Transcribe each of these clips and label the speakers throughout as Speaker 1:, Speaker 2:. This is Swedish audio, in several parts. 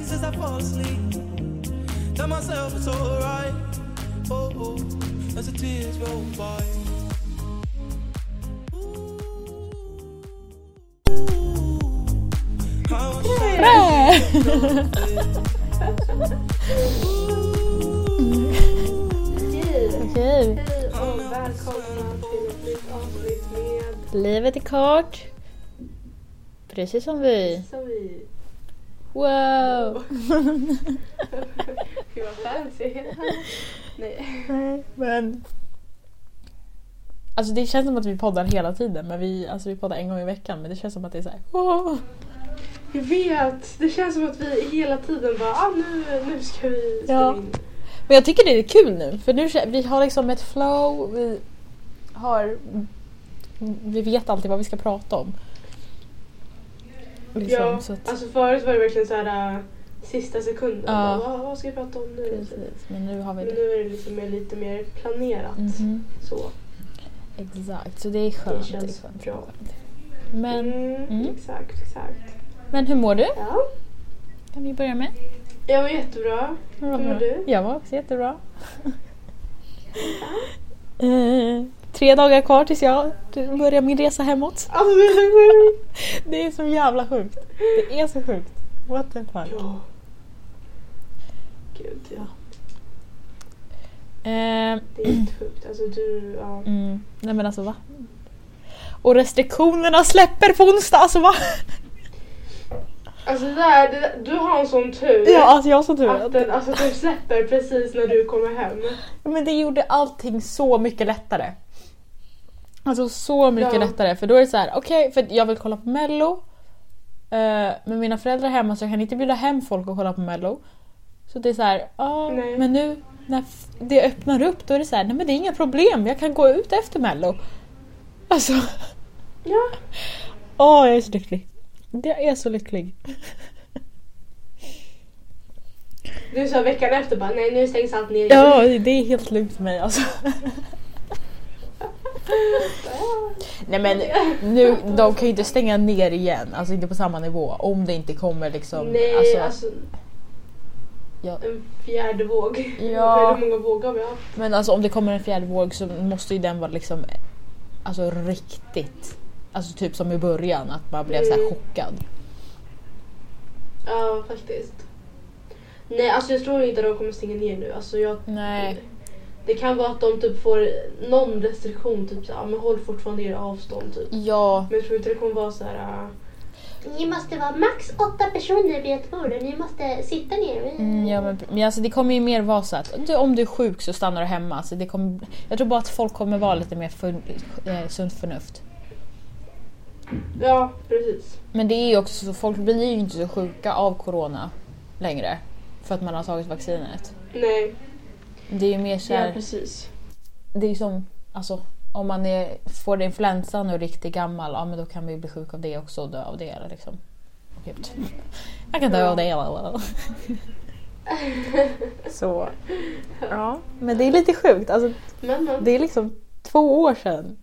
Speaker 1: as I fall asleep. Tell myself it's alright. Oh, oh, as the tears roll by.
Speaker 2: Okej.
Speaker 3: Hej och välkomna till ett nytt avsnitt med
Speaker 2: Livet är kort. Precis som vi.
Speaker 3: som vi...
Speaker 2: Wow!
Speaker 3: Gud vad fancy. Nej.
Speaker 2: Men... Alltså det känns som att vi poddar hela tiden. Men vi, alltså vi poddar en gång i veckan. Men det känns som att det är så här. "Wow."
Speaker 3: Jag vet, det känns som att vi hela tiden bara ah, nu, nu ska vi spela
Speaker 2: Ja.
Speaker 3: in.
Speaker 2: Men jag tycker det är kul nu. För nu kä- vi har liksom ett flow. Vi har... Vi vet alltid vad vi ska prata om. Liksom,
Speaker 3: ja,
Speaker 2: så att,
Speaker 3: alltså förut var det verkligen så här äh, sista sekunden.
Speaker 2: Ja.
Speaker 3: Bara, Vad, vad ska vi prata om nu?
Speaker 2: precis. Men nu har vi
Speaker 3: Men
Speaker 2: det.
Speaker 3: nu är det liksom mer, lite mer planerat.
Speaker 2: Mhm.
Speaker 3: Så.
Speaker 2: Exakt, så det är skönt.
Speaker 3: Det känns
Speaker 2: är skönt.
Speaker 3: bra.
Speaker 2: Men,
Speaker 3: Mm,
Speaker 2: mm.
Speaker 3: Exakt, exakt.
Speaker 2: men hur mår du?
Speaker 3: Ja.
Speaker 2: Kan vi börja med?
Speaker 3: Jag var jättebra.
Speaker 2: Hur
Speaker 3: mår du?
Speaker 2: Jag mår också jättebra. Eh, tre dagar kvar tills jag börjar min resa hemåt.
Speaker 3: Alltså det är så sjukt.
Speaker 2: Det är så jävla sjukt. Det är så sjukt. What the fuck.
Speaker 3: Ja. Gud ja.
Speaker 2: Eh,
Speaker 3: Det är helt sjukt. Alltså du, ja.
Speaker 2: mm, nej men alltså va? Och restriktionerna släpper på onsdag, alltså va?
Speaker 3: Alltså det där, det där, du har en sån tur.
Speaker 2: Ja, alltså jag har så tur.
Speaker 3: Att den,
Speaker 2: att-
Speaker 3: alltså den släpper precis när du kommer hem.
Speaker 2: Men det gjorde allting så mycket lättare. Alltså så mycket
Speaker 3: Ja.
Speaker 2: lättare. För då är det så här, okej, för jag vill kolla på mello. eh, men mina föräldrar är hemma så jag kan inte bjuda hem folk och kolla på mello. Så det är så här, ja
Speaker 3: Nej.
Speaker 2: men nu när f- det öppnar upp då är det så här, nej men det är inga problem, jag kan gå ut efter mello. Alltså,
Speaker 3: Ja.
Speaker 2: åh jag är så lycklig. Jag är så lycklig.
Speaker 3: Du sa veckan efter bara nej nu stängs allt ner.
Speaker 2: Ja, det är helt lugnt för mig alltså.
Speaker 3: Alltså,
Speaker 2: Nej men nu, de kan ju inte stänga ner igen, alltså inte på samma nivå om det inte kommer liksom...
Speaker 3: Nej alltså,
Speaker 2: alltså, Ja.
Speaker 3: en fjärde våg.
Speaker 2: Ja.
Speaker 3: Hur många vågor har vi haft?
Speaker 2: Men alltså om det kommer en fjärde våg så måste ju den vara liksom alltså riktigt, alltså typ som i början att man blev så här
Speaker 3: Mm.
Speaker 2: chockad.
Speaker 3: Ja faktiskt. Nej alltså jag tror inte de kommer stänga ner nu. Alltså jag
Speaker 2: Nej.
Speaker 3: Det kan vara att de typ får någon restriktion, typ såhär, men håll fortfarande er avstånd typ.
Speaker 2: Ja,
Speaker 3: Men jag tror inte det kommer vara såhär,
Speaker 4: Ni måste vara max åtta personer vid ett bord och ni måste sitta ner.
Speaker 2: mm, ja men, men alltså det kommer ju mer vara så att du, om du är sjuk så stannar du hemma. Alltså, det kommer, jag tror bara att folk kommer vara lite mer fun, eh, sunt förnuft.
Speaker 3: ja precis.
Speaker 2: Men det är ju också så, folk blir ju inte så sjuka av corona längre. För att man har tagit vaccinet.
Speaker 3: Nej,
Speaker 2: Det är ju mer så
Speaker 3: ja
Speaker 2: här,
Speaker 3: precis.
Speaker 2: det är ju som, alltså om man är, får influensan och är riktigt gammal, ja men då kan man ju bli sjuk av det också och dö av det eller liksom. Gud. Jag kan dö av det. eller- Så. Ja. Men det är lite sjukt, alltså
Speaker 3: Men, men.
Speaker 2: det är liksom två år sedan.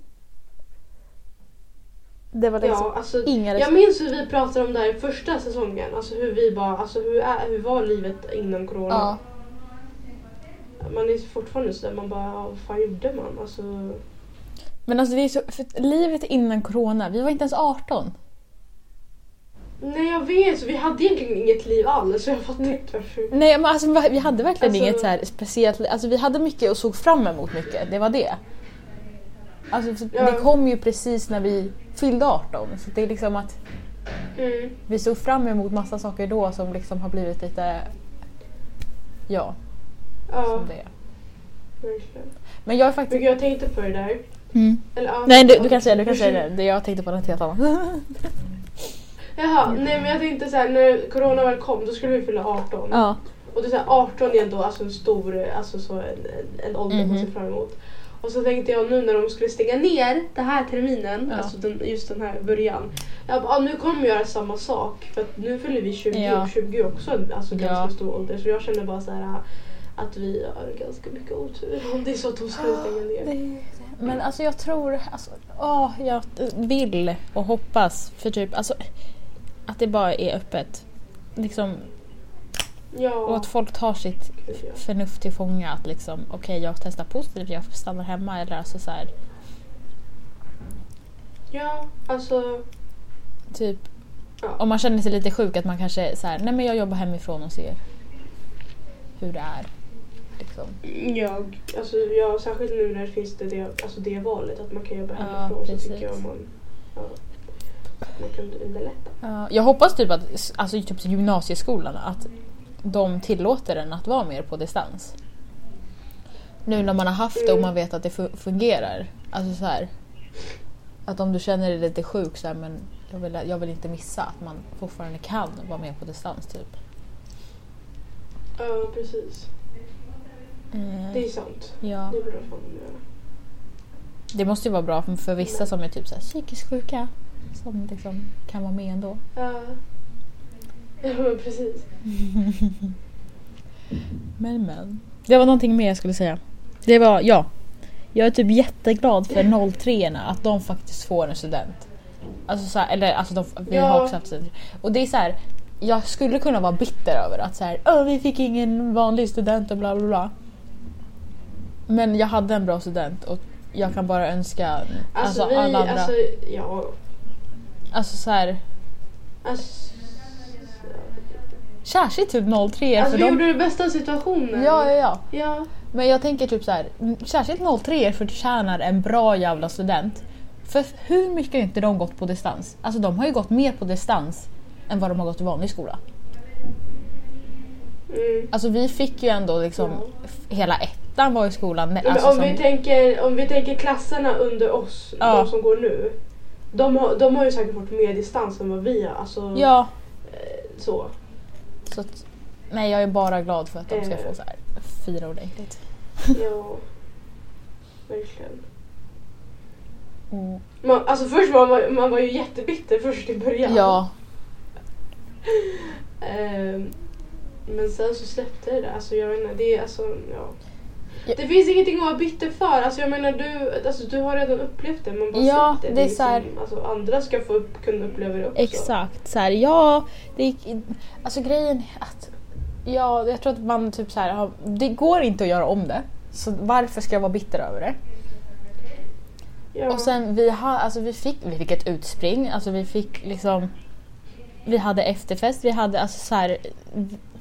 Speaker 2: Det var liksom
Speaker 3: Ja, alltså,
Speaker 2: inga
Speaker 3: jag minns hur vi pratade om det här i första säsongen. Alltså hur vi bara, alltså hur, är, hur var livet innan corona?
Speaker 2: Ja.
Speaker 3: Man är fortfarande sådär, man bara, ja, vad fan gjorde man? Alltså,
Speaker 2: Men alltså det är så, för att livet innan corona, vi var inte ens 18.
Speaker 3: nej jag vet, så vi hade egentligen inget liv alls. Så jag fattar inte varför.
Speaker 2: Nej men alltså vi hade verkligen
Speaker 3: Alltså-
Speaker 2: inget så här speciellt, alltså vi hade mycket och såg fram emot mycket, det var det. Alltså så
Speaker 3: Ja.
Speaker 2: det kom ju precis när vi fyllde 18 så det är liksom att
Speaker 3: Mm.
Speaker 2: vi såg fram emot massa saker då som liksom har blivit lite, ja,
Speaker 3: Ja,
Speaker 2: som det är.
Speaker 3: verkligen.
Speaker 2: Men jag är
Speaker 3: Men
Speaker 2: faktiskt...
Speaker 3: jag tänkte på det där. Eller, ja,
Speaker 2: Nej du, du
Speaker 3: ja.
Speaker 2: kan säga det, du kan säga det. det. Jag tänkte på något helt annat.
Speaker 3: Jaha, nej men jag tänkte såhär när corona väl kom då skulle vi fylla 18.
Speaker 2: ja.
Speaker 3: Och det är så här, 18 är ändå alltså en stor alltså så en, en- en ålder man ser
Speaker 2: Mhm.
Speaker 3: fram emot. Och så tänkte jag nu när de skulle stänga ner den här terminen,
Speaker 2: Ja.
Speaker 3: alltså den, just den här början. Jag bara, ah, nu kommer jag göra samma sak för att nu fyller vi 20
Speaker 2: Ja.
Speaker 3: och 20 är också en alltså,
Speaker 2: Ja.
Speaker 3: ganska stor ålder. Så jag känner bara så här ah, att vi har ganska mycket otur om det är så att de skulle stänga ner.
Speaker 2: Det- Men alltså jag tror, alltså, åh, jag vill och hoppas för typ, alltså, att det bara är öppet. Liksom,
Speaker 3: Ja.
Speaker 2: Och att folk tar sitt
Speaker 3: gud, ja.
Speaker 2: förnuft till fånga. Att liksom, okej jag testar positivt, jag stannar hemma. Eller alltså så här,
Speaker 3: ja, alltså.
Speaker 2: typ
Speaker 3: Ja.
Speaker 2: om man känner sig lite sjuk att man kanske så här, nej men jag jobbar hemifrån och ser hur det är. Liksom.
Speaker 3: Jag, alltså, ja, särskilt nu när det finns det, det, alltså det valet att man kan jobba
Speaker 2: Ja,
Speaker 3: hemifrån så
Speaker 2: precis.
Speaker 3: tycker jag man, ja, att man kan underlätta.
Speaker 2: Ja, Jag hoppas typ att alltså, typ gymnasieskolan att de tillåter en att vara mer på distans. Nu när man har haft det och man vet att det fu- fungerar. Alltså så här, att om du känner dig lite sjuk så här, men jag vill, jag vill inte missa att man fortfarande kan vara med på distans. Typ.
Speaker 3: Ja, precis. Det är sant.
Speaker 2: Ja.
Speaker 3: Det borde fan de göra.
Speaker 2: Det måste ju vara bra för, för vissa som är typ så här, psykiskt sjuka som liksom kan vara med ändå.
Speaker 3: Ja. Ja, men precis.
Speaker 2: Men men. Det var någonting mer jag skulle säga. Det var, ja. Jag är typ jätteglad för 03 erna att de faktiskt får en student. Alltså så här, eller alltså de, vi har
Speaker 3: Ja.
Speaker 2: också haft studenter. Och det är så här, jag skulle kunna vara bitter över att så här, "Åh, vi fick ingen vanlig student och bla bla bla. Men jag hade en bra student och jag kan bara önska alltså,
Speaker 3: Alltså, vi,
Speaker 2: alla andra.
Speaker 3: alltså,
Speaker 2: Alltså,
Speaker 3: ja.
Speaker 2: så här,
Speaker 3: Alltså,
Speaker 2: särskilt typ 03
Speaker 3: alltså
Speaker 2: alltså,
Speaker 3: vi
Speaker 2: för de...
Speaker 3: gjorde det bästa av situationen.
Speaker 2: Ja, ja, ja.
Speaker 3: ja.
Speaker 2: Men jag tänker typ så här, m- särskilt 03 förtjänar en bra jävla student. För hur mycket har inte de gått på distans? Alltså de har ju gått mer på distans än vad de har gått i vanlig skola.
Speaker 3: Mm.
Speaker 2: Alltså vi fick ju ändå liksom,
Speaker 3: Ja.
Speaker 2: f- hela ettan var i skolan. Nej,
Speaker 3: Men
Speaker 2: Alltså,
Speaker 3: om,
Speaker 2: som,
Speaker 3: vi tänker, om vi tänker klasserna under oss,
Speaker 2: Ja.
Speaker 3: de som går nu. De har, de har ju säkert fått mer distans än vad vi har. Alltså,
Speaker 2: ja,
Speaker 3: så.
Speaker 2: så att, nej jag är bara glad för att de ska
Speaker 3: Eh.
Speaker 2: få så här, fira ordentligt.
Speaker 3: Ja. Verkligen.
Speaker 2: Mm.
Speaker 3: Man, alltså först var man, man var ju jättebitter först i början.
Speaker 2: Ja,
Speaker 3: Ehm, men sen så släppte det. Alltså jag menar, det är alltså, ja.
Speaker 2: Ja.
Speaker 3: Det finns ingenting att vara bitter för. Alltså jag menar, du, alltså, du har redan upplevt det. Man bara
Speaker 2: Ja,
Speaker 3: släpp
Speaker 2: det är så här-
Speaker 3: alltså, andra ska få upp, kunna uppleva det också.
Speaker 2: exakt. Så här, ja, det gick, in- alltså grejen är att ja, jag tror att man typ så här, har- det går inte att göra om det. Så varför ska jag vara bitter över det?
Speaker 3: Ja.
Speaker 2: Och sen vi, ha, alltså vi, fick, vi fick ett utspring, alltså vi fick liksom... Vi hade efterfest, vi hade alltså så här,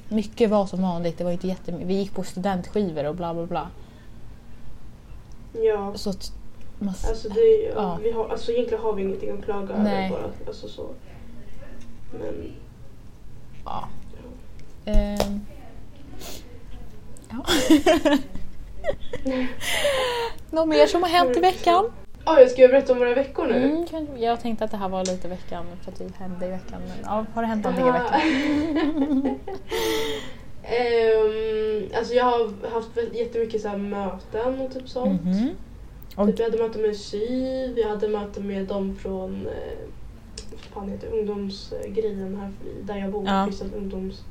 Speaker 2: Mycket var som vanligt, det var inte jättemy- Vi gick på studentskivor och bla bla bla.
Speaker 3: ja.
Speaker 2: Så att, man, s-
Speaker 3: Alltså, det,
Speaker 2: Ja.
Speaker 3: vi har, alltså egentligen har vi ingenting att klaga
Speaker 2: Nej.
Speaker 3: över bara. Alltså så. Men
Speaker 2: ja. Ehm. ja. Något mer som har hänt i veckan?
Speaker 3: Oj, ska jag berätta om våra veckor nu?
Speaker 2: Mm, kan- jag tänkte att det här var lite veckan, för att det hände i veckan. Men, ja, har det hänt någonting i veckan?
Speaker 3: Ehm, alltså jag har haft vä- jättemycket så här möten och typ sånt.
Speaker 2: Mhm. Och-
Speaker 3: Typ jag hade möte med SYV, jag hade möte med dem från eh, vad fan heter det, ungdomsgrejen här i- där jag bor.
Speaker 2: Ja.
Speaker 3: Det finns en ungdoms...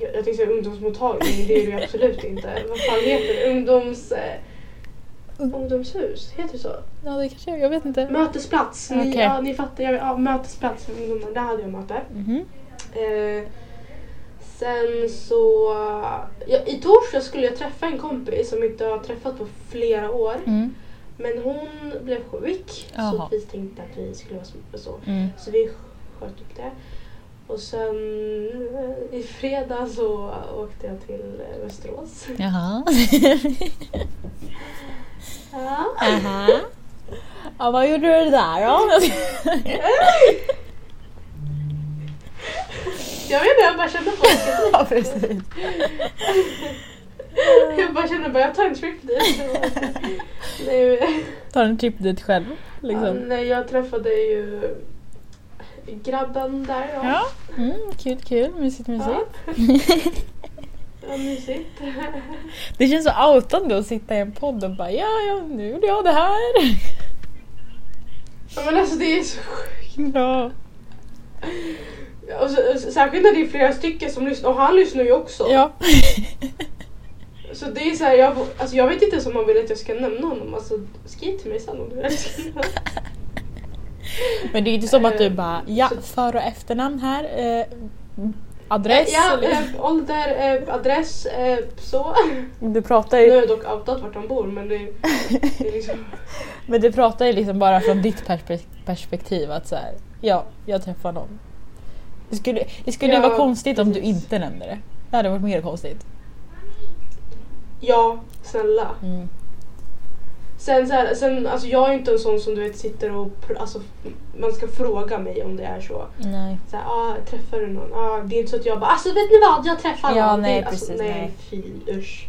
Speaker 3: Jag tänkte säga ungdomsmottagning, men det är det ju absolut inte. Vad fan heter det? Ungdoms... Eh, ungdomshus, heter det så?
Speaker 2: Ja, det kanske jag, jag vet inte.
Speaker 3: Mötesplats, ni,
Speaker 2: Okej.
Speaker 3: ja, ni fattar. Jag, ja, mötesplats för ungdomar, där hade jag möte.
Speaker 2: Mhm.
Speaker 3: Eh, sen så... Ja, I torsdag skulle jag träffa en kompis som inte har träffat på flera år.
Speaker 2: Mm.
Speaker 3: Men hon blev sjuk
Speaker 2: Jaha.
Speaker 3: så vi tänkte att vi skulle vara så- så.
Speaker 2: Mm.
Speaker 3: Så vi sköt upp det. Och sen eh, i fredag så åkte jag till eh, Västerås.
Speaker 2: Jaha.
Speaker 3: Ja.
Speaker 2: Aha. Ja, vad gjorde du där då?
Speaker 3: Jag vet inte, jag bara kände på det.
Speaker 2: ja, precis.
Speaker 3: Jag bara kände bara jag tar en trip dit. Nej,
Speaker 2: Tar en trip dit själv.
Speaker 3: Ja,
Speaker 2: Liksom.
Speaker 3: nej, jag träffade ju grabben där. då.
Speaker 2: Ja, mm, kul, kul. Mysigt, mysigt.
Speaker 3: Ja, mysigt.
Speaker 2: Det känns så outande att sitta i en podd och bara ja, ja, nu gjorde jag det här.
Speaker 3: Ja, Men alltså det är så sjukt.
Speaker 2: Ja,
Speaker 3: Och så, och så- alltså, särskilt när det är flera stycken som lyssnar. Och han lyssnar ju också.
Speaker 2: ja.
Speaker 3: Så det är så här, jag, alltså jag vet inte ens om man vill att jag ska nämna honom. Alltså skriv till mig sen om du vill att jag ska nämna honom.
Speaker 2: Men det är inte som att du bara ja, för och efternamn här. Eh, adress?
Speaker 3: Ja,
Speaker 2: eller?
Speaker 3: eh, ålder, eh, adress, eh, så.
Speaker 2: Du pratar
Speaker 3: Nu
Speaker 2: ju,
Speaker 3: har jag dock outat vart de bor men det, det är liksom...
Speaker 2: men du pratar ju liksom bara från ditt perspe- perspektiv att så här, ja, jag träffar någon. Det skulle, det skulle ju
Speaker 3: Ja,
Speaker 2: vara konstigt om du
Speaker 3: precis.
Speaker 2: inte nämnde det. Det hade varit mer konstigt.
Speaker 3: Ja, snälla.
Speaker 2: Mm.
Speaker 3: Sen, så här, sen alltså jag är inte en sån som du vet sitter och pr- alltså, man ska fråga mig om det är så.
Speaker 2: Nej.
Speaker 3: så här, ah, träffar du någon? Ah, det är inte så att jag bara alltså vet ni vad jag träffar
Speaker 2: Ja,
Speaker 3: någon. Det är-
Speaker 2: nej,
Speaker 3: alltså,
Speaker 2: precis, nej.
Speaker 3: nej fy usch.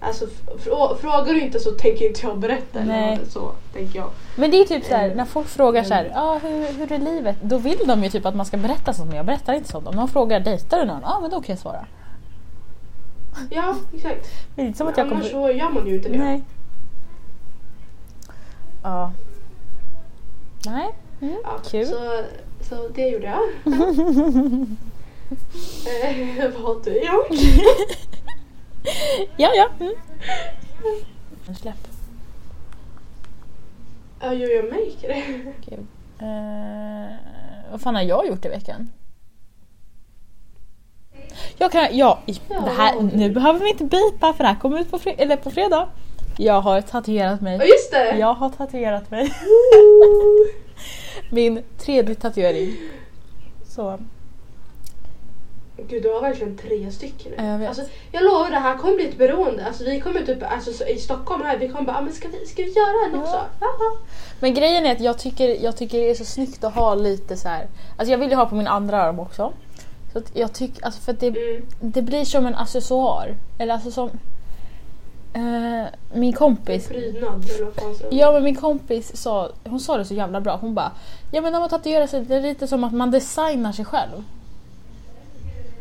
Speaker 3: Alltså f- frå- frågar du inte så tänker inte jag berätta.
Speaker 2: Nej.
Speaker 3: Eller något, så tänker jag.
Speaker 2: Men det är typ så här,
Speaker 3: Eh,
Speaker 2: när folk frågar så här,
Speaker 3: men-
Speaker 2: ah, hur, hur är livet? Då vill de ju typ att man ska berätta sånt, men jag berättar inte sånt. Om någon frågar, dejtar du någon? Ja, ah, men då kan jag svara.
Speaker 3: Ja exakt.
Speaker 2: Det är inte som att jag
Speaker 3: Annars
Speaker 2: kommer...
Speaker 3: så gör man ju inte det.
Speaker 2: Nej. Ja. Nej. Mm.
Speaker 3: Ja,
Speaker 2: Kul.
Speaker 3: Så, så det gjorde jag. eh, vad har du gjort?
Speaker 2: Ja, ja. Mm. Släpp.
Speaker 3: Ja, jo, jag märker det.
Speaker 2: Gud. Eh, vad fan har jag gjort i veckan? Jag kan, ja, i-
Speaker 3: Ja,
Speaker 2: det här,
Speaker 3: vad har du
Speaker 2: nu
Speaker 3: gjort?
Speaker 2: behöver vi inte bipa för det här kommer ut på, fre- eller på fredag. Jag har tatuerat
Speaker 3: Ja,
Speaker 2: mig.
Speaker 3: just det!
Speaker 2: Jag har tatuerat mig.
Speaker 3: Woo!
Speaker 2: Min tredje tatuering. Så.
Speaker 3: Gud, du har verkligen tre stycken
Speaker 2: Ja, jag vet.
Speaker 3: Alltså, jag lovar, det här kommer bli ett beroende. Alltså, vi kommer typ, alltså, så, i Stockholm här, vi kommer bara, ah, men ska vi, ska vi göra en
Speaker 2: Ja.
Speaker 3: också? Haha.
Speaker 2: Men grejen är att jag tycker, jag tycker det är så snyggt att ha lite så här. Alltså jag vill ju ha på min andra arm också. Så att jag tycker, alltså för att det,
Speaker 3: Mm.
Speaker 2: det blir som en accessoar. Eller alltså som... Eh, min kompis.
Speaker 3: Prydnad, eller vad fan säger man?
Speaker 2: Ja men min kompis sa, hon sa det så jävla bra. Hon bara, ja men när man tatuerar sig, det är lite som att man designar sig själv.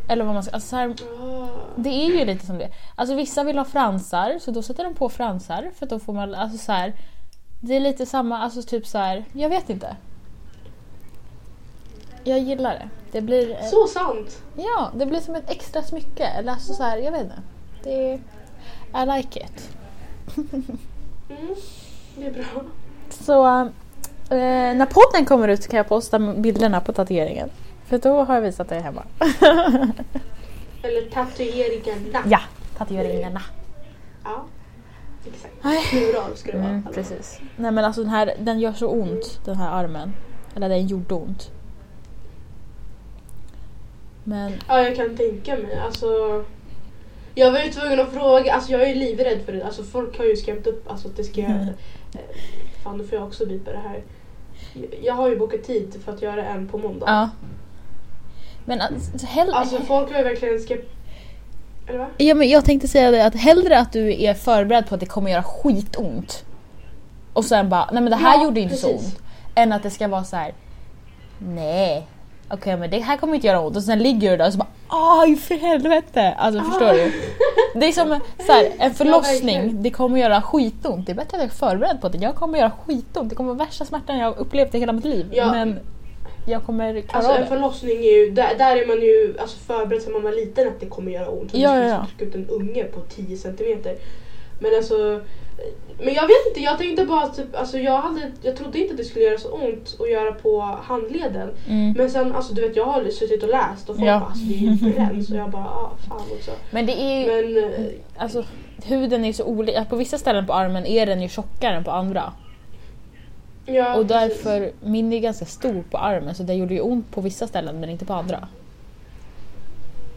Speaker 2: Eller vad man ska, alltså så här,
Speaker 3: Ah.
Speaker 2: det är ju lite som det. Alltså vissa vill ha fransar, så då sätter de på fransar för att då får man, alltså så här. Det är lite samma, alltså typ så här, jag vet inte. Jag gillar det. Det blir, eh,
Speaker 3: Så sant!
Speaker 2: ja, det blir som ett extra smycke eller alltså så här, jag vet inte. Det, I like it.
Speaker 3: Mm. Det är bra.
Speaker 2: Så eh, när podden kommer ut så kan jag posta bilderna på tatueringen. För då har jag visat det hemma.
Speaker 3: Eller tatueringarna.
Speaker 2: ja, tatueringarna.
Speaker 3: Ja. Exakt.
Speaker 2: Nej.
Speaker 3: Plural ska det vara.
Speaker 2: Mm,
Speaker 3: Alltså.
Speaker 2: precis. Nej men alltså den här, den gör så ont, den här armen. Eller den gjorde ont. Men,
Speaker 3: Ja, jag kan tänka mig. Alltså, jag var ju tvungen att fråga. Alltså, jag är ju livrädd för det. Alltså, folk har ju skrämt upp alltså, att det ska...
Speaker 2: Mm.
Speaker 3: Eh, Fan, nu får jag också bipa det här. Jag- Jag har ju bokat tid för att göra en på måndag.
Speaker 2: ja. Men alltså, hell-
Speaker 3: Alltså, folk har ju verkligen skrämt... Eller va?
Speaker 2: ja, men jag tänkte säga det att hellre att du är förberedd på att det kommer göra skitont. Och sen bara, nej men det här
Speaker 3: Ja,
Speaker 2: gjorde inte så
Speaker 3: precis.
Speaker 2: ont. Än att det ska vara så här. nej. Okej men det här kommer inte göra ont. Och sen ligger du där och så bara, aj för helvete. Alltså förstår du? Det är som en- så här, en förlossning,
Speaker 3: Ah. verkligen.
Speaker 2: det kommer göra skitont. Det är bättre att jag är förberedd på det. Jag kommer göra skitont. Det kommer vara värsta smärtan jag har upplevt i hela mitt liv.
Speaker 3: Ja.
Speaker 2: Men jag kommer klara
Speaker 3: Alltså,
Speaker 2: av
Speaker 3: en
Speaker 2: det.
Speaker 3: förlossning är ju... Där, där är man ju alltså, förberedd sedan man var liten att det kommer göra ont. Och
Speaker 2: Ja,
Speaker 3: du
Speaker 2: ja,
Speaker 3: ska
Speaker 2: ja.
Speaker 3: trycka ut en unge på 10 centimeter. Men alltså... Men jag vet inte, jag tänkte bara typ, alltså jag, hade, jag trodde inte att det skulle göra så ont att göra på handleden.
Speaker 2: Mm.
Speaker 3: Men sen, alltså du vet jag har suttit och läst och folk
Speaker 2: Ja.
Speaker 3: bara alltså det är ju bränns och jag bara ah fan också.
Speaker 2: Men det är ju,
Speaker 3: Men eh,
Speaker 2: alltså huden är så olika. På vissa ställen på armen är den ju tjockare än på andra.
Speaker 3: ja,
Speaker 2: Och
Speaker 3: precis.
Speaker 2: därför, min är ganska stor på armen så det gjorde ju ont på vissa ställen men inte på andra.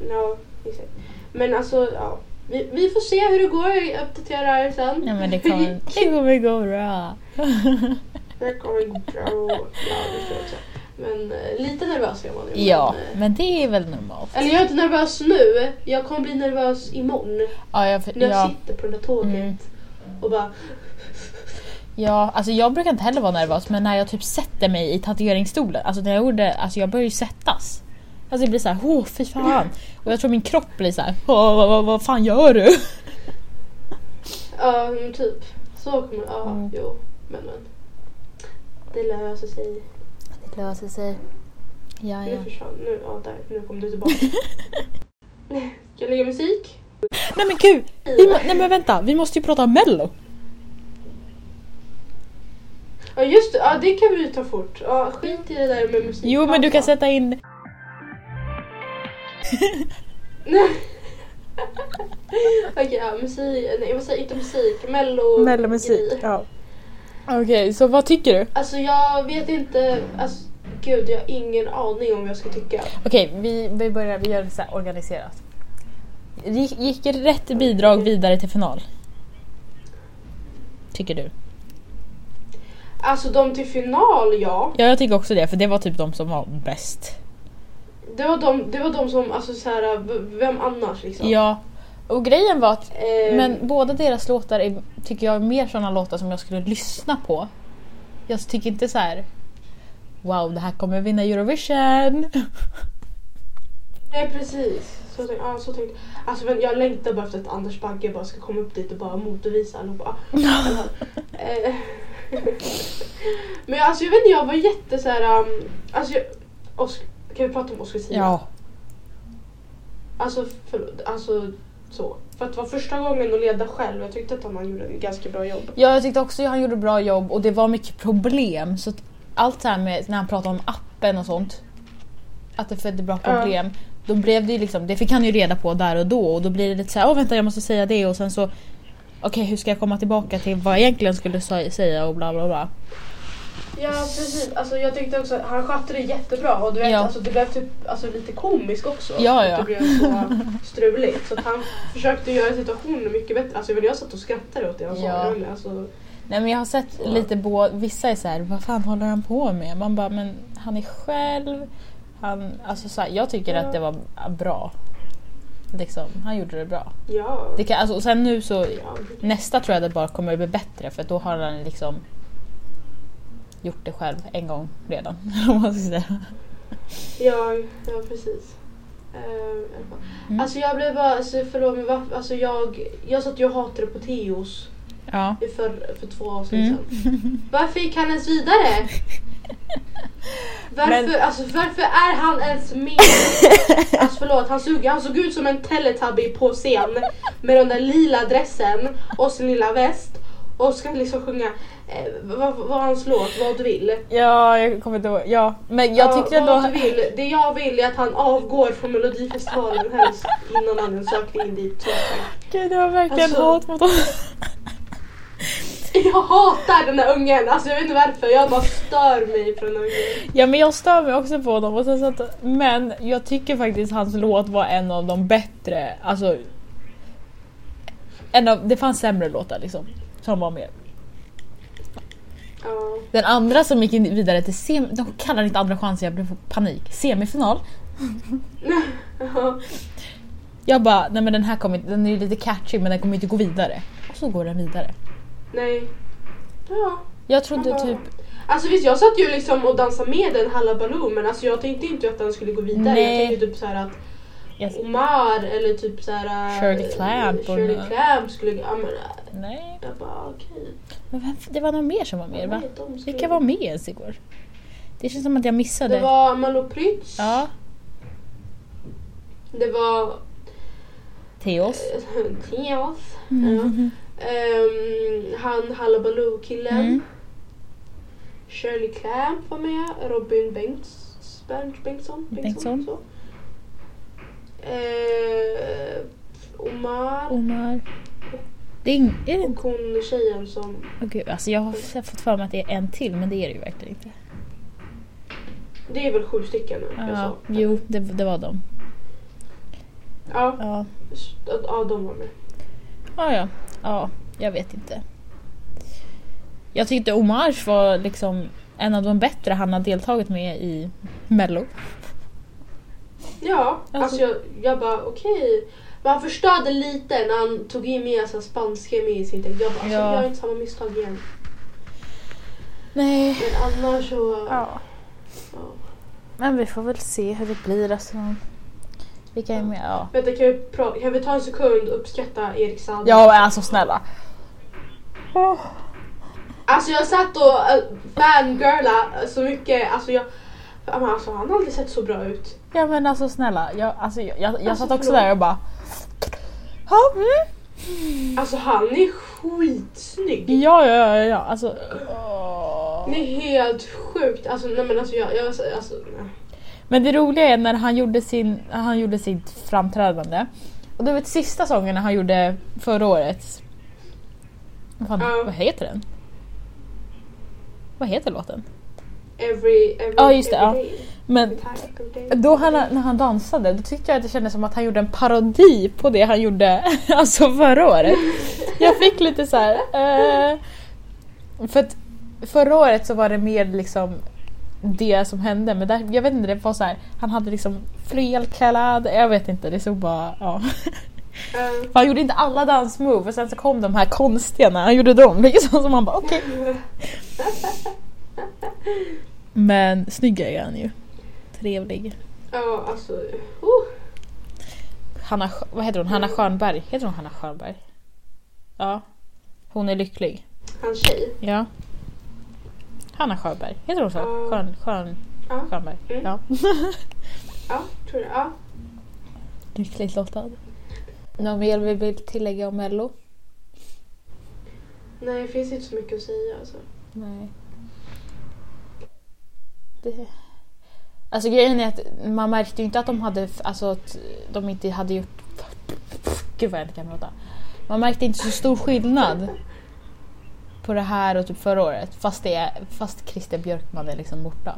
Speaker 3: Ja, exakt. Men alltså ja. Vi, vi får se hur det går, jag uppdaterar sen.
Speaker 2: Nej men det kommer, det kommer gå bra.
Speaker 3: det kommer gå bra. Ja, det tror jag också. Men eh, lite nervös är man ju. men,
Speaker 2: Ja,
Speaker 3: eh,
Speaker 2: men det är väl normalt.
Speaker 3: Eller jag är inte nervös nu, jag kommer bli nervös imorgon.
Speaker 2: Ja, jag,
Speaker 3: När jag
Speaker 2: ja.
Speaker 3: sitter på det där tåget.
Speaker 2: Mm.
Speaker 3: Och bara,
Speaker 2: Ja, alltså jag brukar inte heller vara nervös men när jag typ sätter mig i tatueringsstolen, alltså när jag gjorde, alltså jag började ju sättas. Alltså det blir såhär, åh fy fan. Och jag tror min kropp blir såhär, åh vad, vad, vad fan gör du?
Speaker 3: ja men typ. Så kommer ja,
Speaker 2: Mm.
Speaker 3: jo. Men men. Det löser sig.
Speaker 2: Det löser sig. Ja, ja.
Speaker 3: Nu försvann, nu, ja, där, nu kom du tillbaka. Ska jag lägga musik?
Speaker 2: Nej men gud! Vi, må- nej men vänta, vi måste ju prata om mello.
Speaker 3: Ja just det, ja, det kan vi ju ta fort. Ja, skit i det där med musik.
Speaker 2: Jo men du kan sätta in...
Speaker 3: Nej. Okej, ja, musik, nej vad säger jag? inte musik, mello...
Speaker 5: Mellomusik.
Speaker 3: grej.
Speaker 5: Ja.
Speaker 2: Okej, så vad tycker du?
Speaker 3: Alltså jag vet inte, alltså gud jag har ingen aning om vad jag ska tycka.
Speaker 2: Okej, vi, vi börjar, vi gör det så här organiserat. Gick, gick rätt bidrag vidare till final? Tycker du?
Speaker 3: Alltså de till final ja,
Speaker 2: Ja, jag tycker också det, för det var typ de som var bäst.
Speaker 3: det var de, det var de som, alltså så här, v- vem annars liksom?
Speaker 2: Ja. Och grejen var att
Speaker 3: Eh,
Speaker 2: men båda deras låtar är, tycker jag är mer sådana låtar som jag skulle lyssna på. Jag tycker inte så här. Wow, det här kommer vinna Eurovision!
Speaker 3: Nej precis. Så tänkte, ja, så tänkte. Alltså, men jag längtar bara efter att Anders Bagge bara ska komma upp dit och bara motvisa allihopa. Eh, men jag- alltså jag vet inte, jag var jätte så här, um, alltså, jag, Os- Kan vi prata om Oscar Zia? Alltså, för, alltså så. För att det var första gången att leda själv. Jag tyckte att han gjorde ett ganska bra jobb.
Speaker 2: Ja, jag tyckte också att han gjorde bra jobb och det var mycket problem. Så att allt det här med när han pratade om appen och sånt. Att det födde bra problem. Då blev det ju liksom, det fick han ju reda på där och då och då blir det lite så här, åh vänta jag måste säga det och sen så okej hur ska jag komma tillbaka till vad jag egentligen skulle sa- säga och bla bla bla.
Speaker 3: Ja precis, alltså, jag tyckte också att han skötte det jättebra och du vet,
Speaker 2: Ja.
Speaker 3: alltså, det blev typ, alltså, lite komiskt också.
Speaker 2: Ja,
Speaker 3: Att
Speaker 2: ja.
Speaker 3: Det blev så struligt. Så att han försökte göra situationen mycket bättre. Alltså, men jag satt och skrattade åt det han sa.
Speaker 2: Ja.
Speaker 3: Jag vet inte, Alltså,
Speaker 2: Nej men jag har sett lite på, vissa är så här, vad fan håller han på med? Man bara, men han är själv. Han, alltså så här, jag tycker att det var bra. Liksom, han gjorde det bra.
Speaker 3: ja.
Speaker 2: Det kan, alltså, och sen nu så,
Speaker 3: ja.
Speaker 2: nästa tror jag det bara kommer att bli bättre för då har han liksom gjort det själv en gång redan. Om man ska säga.
Speaker 3: Ja, ja precis. Ehm,
Speaker 2: Mm.
Speaker 3: Alltså jag blev bara, alltså, förlåt men varför, alltså jag, jag satt ju och hatade på Teos
Speaker 2: Ja.
Speaker 3: i för, för två avsnitt
Speaker 2: Mm.
Speaker 3: sedan. Varför gick han ens vidare? Varför,
Speaker 2: Men-
Speaker 3: alltså, varför är han ens med? Alltså förlåt, han såg, han såg ut som en Teletubby på scen med den där lila dressen och sin lilla väst och ska liksom sjunga eh, vad, vad hans låt, vad du vill.
Speaker 2: ja, jag kommer inte ihåg. Ja. Men jag tyckte
Speaker 3: ja, vad
Speaker 2: ändå...
Speaker 3: du vill. Det jag vill är att han avgår från Melodifestivalen helst innan han ens åker in dit. Så att-
Speaker 2: Gud, det var verkligen
Speaker 3: Alltså-
Speaker 2: hat mot honom.
Speaker 3: Jag hatar den där ungen, alltså jag vet inte varför. Jag bara stör mig på den där ungen.
Speaker 2: Ja men jag stör mig också på honom. Och sen så att, men jag tycker faktiskt hans låt var en av de bättre. Alltså, en av, det fanns sämre låtar liksom. Som var med.
Speaker 3: Ja.
Speaker 2: Den andra som gick in vidare till sem... De kallar det inte andra chansen, jag blev panik. Semifinal. Jag bara, nej men den här kommer inte- den är ju lite catchy men den kommer inte gå vidare. Och så går den vidare.
Speaker 3: Nej. Ja.
Speaker 2: Jag trodde typ...
Speaker 3: Alltså visst jag satt ju liksom och dansade med den Hallabaloo men alltså jag tänkte inte att den skulle gå vidare.
Speaker 2: Nej.
Speaker 3: Jag tänkte typ såhär att
Speaker 2: Jag,
Speaker 3: Omar eller typ såhär...
Speaker 2: Shirley Clamp och-
Speaker 3: Shirley Clamp skulle... Ja men eh,
Speaker 2: nej.
Speaker 3: jag bara okej.
Speaker 2: Men vem, det var någon mer som var med va?
Speaker 3: Nej, de skulle-
Speaker 2: Vilka var med ens igår? Det känns som att jag missade.
Speaker 3: Det var Malou Prytz.
Speaker 2: Ja,
Speaker 3: Det var
Speaker 2: Theos.
Speaker 3: Theos. Ja.
Speaker 2: Mm.
Speaker 3: Ehm, han Hallabaloo-killen.
Speaker 2: Mm.
Speaker 3: Shirley Clamp var med. Robin Bengts, Bengt, Bengtsson.
Speaker 2: Bengtsson.
Speaker 3: så. Ehm, Omar.
Speaker 2: Omar. Det är, ing- är det
Speaker 3: Och hon tjejen som...
Speaker 2: Åh gud, alltså jag har f- fått för mig att det är en till men det är det ju verkligen inte.
Speaker 3: Det är väl sju stycken nu? jag
Speaker 2: Ja,
Speaker 3: sa.
Speaker 2: jo, det, det var dem.
Speaker 3: Ja,
Speaker 2: Ja.
Speaker 3: s- ja, de var med.
Speaker 2: Ja, ja. ja, jag vet inte. Jag tyckte Omars var liksom en av de bättre han har deltagit med i Mello.
Speaker 3: Ja, alltså,
Speaker 2: Alltså-
Speaker 3: jag, jag bara okej. Men han förstörde lite när han tog in med så här spanska med i sin text. Jag bara alltså,
Speaker 2: Ja.
Speaker 3: gör inte samma misstag igen.
Speaker 2: Nej,
Speaker 3: Men annars så...
Speaker 5: ja.
Speaker 3: ja.
Speaker 2: men vi får väl se hur det blir. Alltså. Vilka är med? Ja,
Speaker 3: Vänta, kan vi, pra- kan vi ta en sekund och uppskatta Erik Saade?
Speaker 2: ja men alltså snälla.
Speaker 3: Alltså jag satt och uh, fangirla så mycket. Alltså jag... Ja, men Alltså han har aldrig sett så bra ut.
Speaker 2: Ja men alltså snälla. Jag, alltså, jag, jag, jag
Speaker 3: Alltså,
Speaker 2: satt också
Speaker 3: förlåt.
Speaker 2: där och bara... Ja, mm.
Speaker 3: Alltså han är skitsnygg.
Speaker 2: ja, ja, ja, ja. Alltså, åh.
Speaker 3: Det är helt sjukt. Alltså nej men alltså jag... jag alltså, nej.
Speaker 2: Men det roliga är när han gjorde, sin, han gjorde sitt framträdande. Och det var sista sången han gjorde förra året. Vad, fan,
Speaker 3: Ja.
Speaker 2: vad heter den? Vad heter låten?
Speaker 3: Every, every,
Speaker 2: Ja, just det,
Speaker 3: every
Speaker 2: ja.
Speaker 3: day.
Speaker 2: Men
Speaker 3: Every time, every day.
Speaker 2: då han, när han dansade då tyckte jag att det kändes som att han gjorde en parodi på det han gjorde alltså förra året. Jag fick lite så här. Eh, för att förra året så var det mer liksom det som hände men där, jag vet inte, det var så här, han hade liksom felklädd, jag vet inte, det såg bara, ja.
Speaker 3: Ja.
Speaker 2: Han gjorde inte alla dansmove och sen så kom de här konstiga när han gjorde dem liksom, så man bara okej. Men snygg är han ju. Trevlig.
Speaker 3: Ja, alltså. Oh,
Speaker 2: Hanna, Sch- vad heter hon? Hanna
Speaker 3: Mm.
Speaker 2: Schönberg. Heter hon Hanna Schönberg? Ja. Hon är lycklig.
Speaker 3: hans tjej.
Speaker 2: Ja. Hanna Schönberg. Heter hon så?
Speaker 3: Ja.
Speaker 2: Schön, Schön,
Speaker 3: Ja,
Speaker 2: Schönberg.
Speaker 3: Mm.
Speaker 2: Ja.
Speaker 3: ja tror jag. Ja.
Speaker 2: Lyckligt lottad. Något mer vi vill tillägga om Mello?
Speaker 3: Nej, det finns inte så mycket att säga alltså.
Speaker 2: Nej. Det... Alltså grejen är att man märkte ju inte att de hade, alltså att de inte hade gjort... Gud vad jag inte kan prata. Man märkte inte så stor skillnad på det här och typ förra året fast, det är, fast Christer Björkman är liksom borta.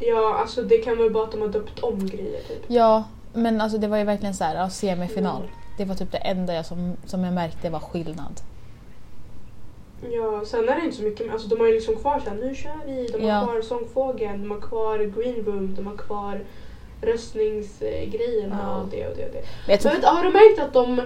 Speaker 3: Ja, alltså det kan väl bara att de har döpt om grejer typ.
Speaker 2: Ja, men alltså det var ju verkligen så här, ja, semifinal. Det var typ det enda jag som, som jag märkte var skillnad.
Speaker 3: Ja, sen är det inte så mycket. men Alltså de har ju liksom kvar sen, nu kör vi. De har
Speaker 2: Ja.
Speaker 3: kvar sångfågeln, de har kvar green room, de har kvar röstningsgrejerna
Speaker 2: Ja.
Speaker 3: och det och det och det.
Speaker 2: Men jag
Speaker 3: Men
Speaker 2: tror,
Speaker 3: vet, har du märkt att de,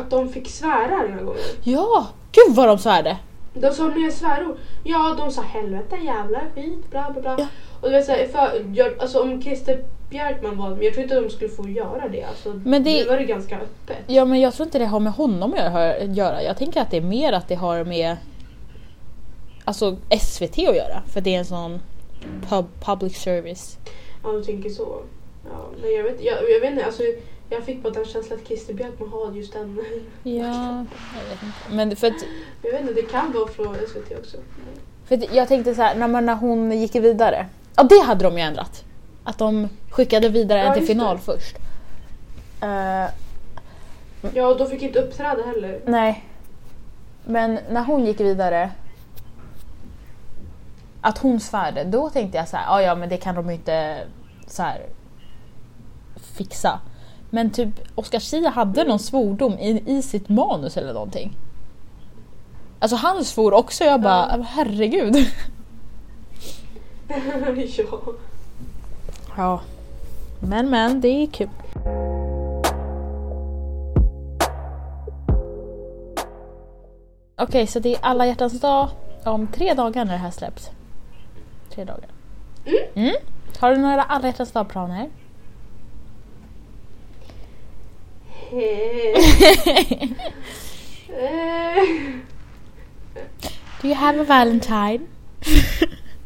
Speaker 3: att de fick svära den här gången?
Speaker 2: ja, gud vad de svärde!
Speaker 3: De sa mer svärord. Ja, de sa helvete, jävla skit, bla bla bla. Och du vet såhär, för, jag, alltså, om Christer Björkman var men jag tror inte de skulle få göra det. Alltså,
Speaker 2: Men det-
Speaker 3: Nu var det ganska öppet.
Speaker 2: Ja men jag tror inte det har med honom att göra- göra. Jag tänker att det är mer att det har med alltså SVT att göra. För det är en sån pub, public service.
Speaker 3: Ja, du tänker så. Ja, nej, jag, vet, jag, jag vet inte, alltså, jag fick bara den känslan att Christer Björkman har just den.
Speaker 2: Ja, jag vet inte. Men för att,
Speaker 3: Jag vet inte, det kan vara från SVT också.
Speaker 2: för att jag tänkte så här, när, man, när hon gick vidare. Ja det hade de ju ändrat. Att de skickade vidare
Speaker 3: Ja,
Speaker 2: en till
Speaker 3: just det.
Speaker 2: final först. Eh,
Speaker 3: Ja, och de fick inte uppträda heller.
Speaker 2: Nej. Men när hon gick vidare, att hon svärde, då tänkte jag så här, "Ah, ja men det kan de ju inte så här, fixa. Men typ Oscar Schia hade någon svordom i, i sitt manus eller någonting. Alltså han svor också, jag bara
Speaker 3: Ja.
Speaker 2: herregud.
Speaker 3: ja.
Speaker 2: Ja. Men men, det är kul. Okej, så det är alla hjärtans dag om tre dagar när det här släpps. Tre dagar.
Speaker 3: Mm.
Speaker 2: Har du några alla hjärtans dag-planer?
Speaker 3: Hej. Eh,
Speaker 2: Do you have a valentine?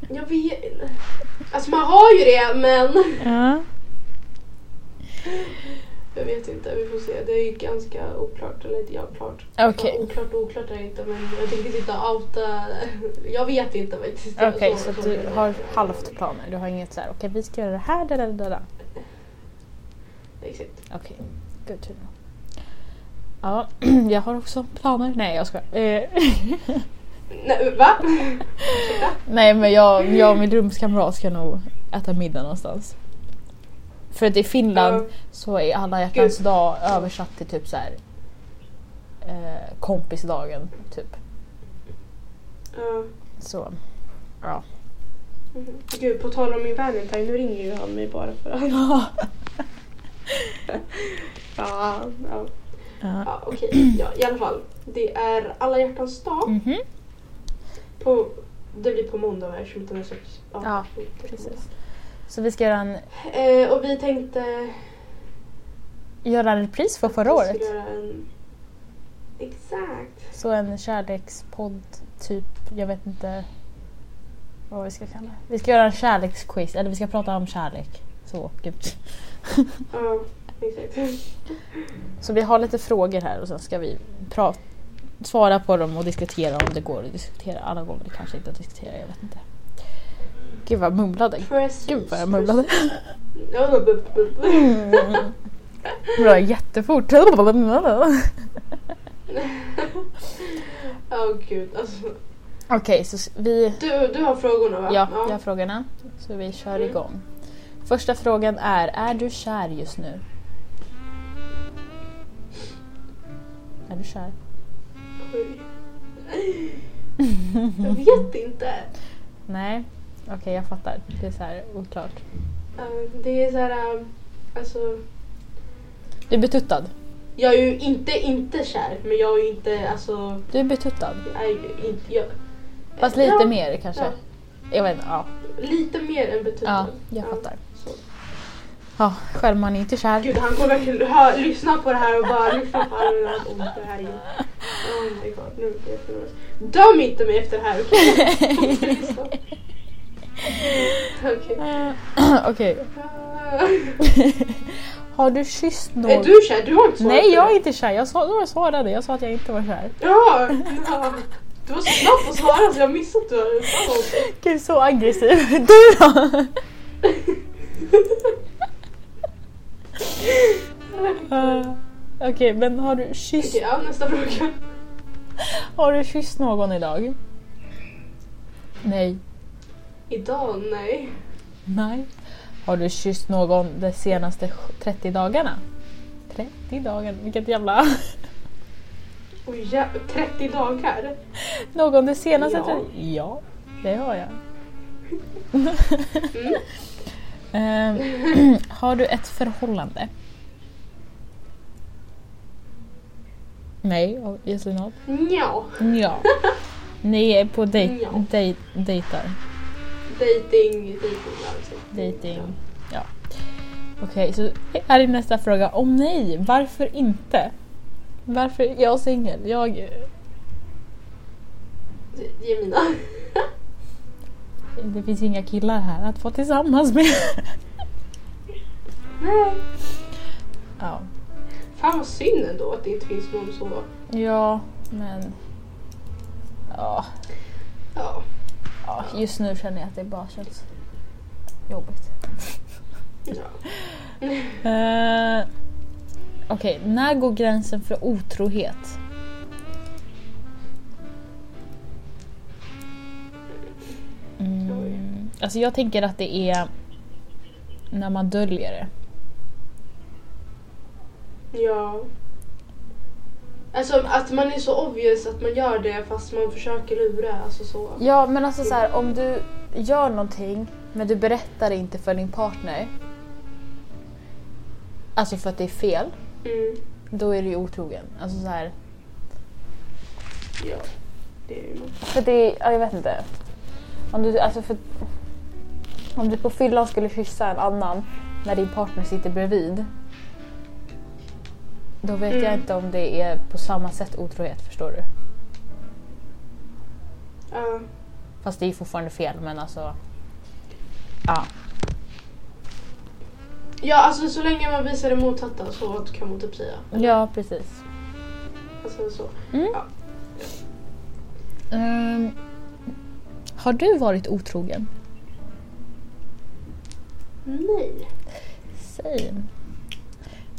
Speaker 3: jag vet inte. Alltså man har ju det, men...
Speaker 2: Ja.
Speaker 3: Jag vet inte, vi får se. Det är ju ganska oklart, eller inte jag klart.
Speaker 2: Okej.
Speaker 3: Ja, Oklart och oklart är det inte, men jag tänker inte outa... Jag vet inte faktiskt.
Speaker 2: Okej, så att du har halvt planer. Du har inget så här, okej vi ska göra det här, där, där, där. där.
Speaker 3: Exakt.
Speaker 2: Okej, good to know. Ja, jag har också planer. Nej, jag Eh, ska.
Speaker 3: Nej, va?
Speaker 2: Nej men jag, jag och min rumskamrat ska nog äta middag någonstans. För att i Finland
Speaker 3: Ja.
Speaker 2: så är alla hjärtans
Speaker 3: Gud.
Speaker 2: dag översatt till typ så här eh, kompisdagen typ.
Speaker 3: Ja.
Speaker 2: Så ja.
Speaker 3: Mhm. Gud, på tal om min Valentine, nu ringer ju han mig bara för att... Ja, ja.
Speaker 2: Ja.
Speaker 3: ja okej. Ja, I alla fall, det är alla hjärtans dag.
Speaker 2: Mhm.
Speaker 3: På, det blir på måndag här, 15 sex.
Speaker 2: Ja, precis. Så vi ska göra en,
Speaker 3: Eh, och vi tänkte
Speaker 2: göra en repris för förra
Speaker 3: Vi
Speaker 2: året.
Speaker 3: skulle göra en... Exakt.
Speaker 2: Så en kärlekspodd typ, jag vet inte vad vi ska kalla det. Vi ska göra en kärleksquiz, eller vi ska prata om kärlek. Så, typ. gud.
Speaker 3: Ja, exakt.
Speaker 2: Så vi har lite frågor här och sen ska vi prata, svara på dem och diskutera om det går att diskutera. Alla gånger kanske inte att diskutera, jag vet inte. Gud vad jag mumlade.
Speaker 3: Precis.
Speaker 2: Gud vad jag mumlade.
Speaker 3: precis. Ja, men bu- bu- bu-
Speaker 2: Mm. Bra, jättefort.
Speaker 3: Åh gud, alltså.
Speaker 2: Okej, så s- vi...
Speaker 3: Du, du har frågorna va?
Speaker 2: Ja, jag har frågorna. Så vi kör
Speaker 3: Mm.
Speaker 2: igång. Första frågan är, är du kär just nu? Är du kär?
Speaker 3: Oj. Jag
Speaker 2: Mm.
Speaker 3: vet inte.
Speaker 2: Nej. Okej, jag fattar. Det är så här oklart.
Speaker 3: Eh, Det är så här, eh, alltså.
Speaker 2: Du är betuttad.
Speaker 3: Jag är ju inte, inte kär, men jag är ju inte, alltså.
Speaker 2: Du är betuttad.
Speaker 3: Jag är ju inte, jag,
Speaker 2: Fast lite mer kanske.
Speaker 3: Ja.
Speaker 2: Jag vet inte, ja.
Speaker 3: Lite mer än betyder.
Speaker 2: Ja, jag fattar.
Speaker 3: så.
Speaker 2: Ja, själv man är inte kär.
Speaker 3: Gud, han kommer verkligen hö- lyssna på det här och bara lyssna på alla mina ord. Det här är ju... Oh my god, nu blir jag förlorad. Döm inte mig efter det här, okej? Okej.
Speaker 2: Eh, Okej.
Speaker 3: Ah.
Speaker 2: Har du kysst någon?
Speaker 3: Är du kär? Du har inte svarat på
Speaker 2: Nej,
Speaker 3: det.
Speaker 2: jag är inte kär. Jag, sa, jag svarade. Jag sa att jag inte var kär.
Speaker 3: Ja, ja. Du var så snabb att svara så jag missade att du hade svarat.
Speaker 2: Gud, så aggressiv. Du då? Eh, Okej, men har du, kysst,
Speaker 3: Okej, ja, nästa fråga.
Speaker 2: har du kysst någon idag? Nej.
Speaker 3: Idag? Nej.
Speaker 2: Nej. Har du kysst någon de senaste sj- 30 dagarna? 30 dagar? Vilket jävla...
Speaker 3: Oj, jä- 30 dagar?
Speaker 2: Någon de senaste
Speaker 3: Ja.
Speaker 2: 30... Ja, det har jag.
Speaker 3: Mm.
Speaker 2: Ehm, har du ett förhållande? Nej, obviously not.
Speaker 3: Nja.
Speaker 2: Ja. Ni är på dej-
Speaker 3: Ja.
Speaker 2: dej- dejtar.
Speaker 3: Dating, dating alltså.
Speaker 2: Dating. Ja. Okej, så här är nästa fråga. Om nej, varför inte? Varför? Jag är singel. Jag...
Speaker 3: Ge- Ge mina.
Speaker 2: Det finns inga killar här att vara tillsammans med.
Speaker 3: Nej.
Speaker 2: Ja.
Speaker 3: Fan vad synd ändå att det inte finns någon så.
Speaker 2: Ja, men... Ja.
Speaker 3: Ja.
Speaker 2: Ja, just nu känner jag att det bara känns jobbigt.
Speaker 3: ja.
Speaker 2: Eh, Okej, när går gränsen för otrohet? Mm, alltså jag tänker att det är när man döljer det.
Speaker 3: ja. Alltså att man är så obvious att man gör det fast man försöker lura. Alltså så.
Speaker 2: Ja, men alltså så här, om du gör någonting men du berättar det inte för din partner. Alltså för att det är fel.
Speaker 3: Mm.
Speaker 2: Då är du ju otrogen. Alltså så här,
Speaker 3: Ja. Det är ju något.
Speaker 2: För det, ja, jag vet inte. Om du, alltså för, om du på fyllan skulle kyssa en annan när din partner sitter bredvid. Då vet
Speaker 3: Mm.
Speaker 2: jag inte om det är på samma sätt otrohet, förstår du?
Speaker 3: Ja.
Speaker 2: Fast det är fortfarande fel, men alltså... Ja.
Speaker 3: Ja alltså så länge man visar det motsatta så kan man typ säga.
Speaker 2: Ja, precis.
Speaker 3: Alltså så.
Speaker 2: Mm. Ehm, har du varit otrogen?
Speaker 3: Nej.
Speaker 2: Same.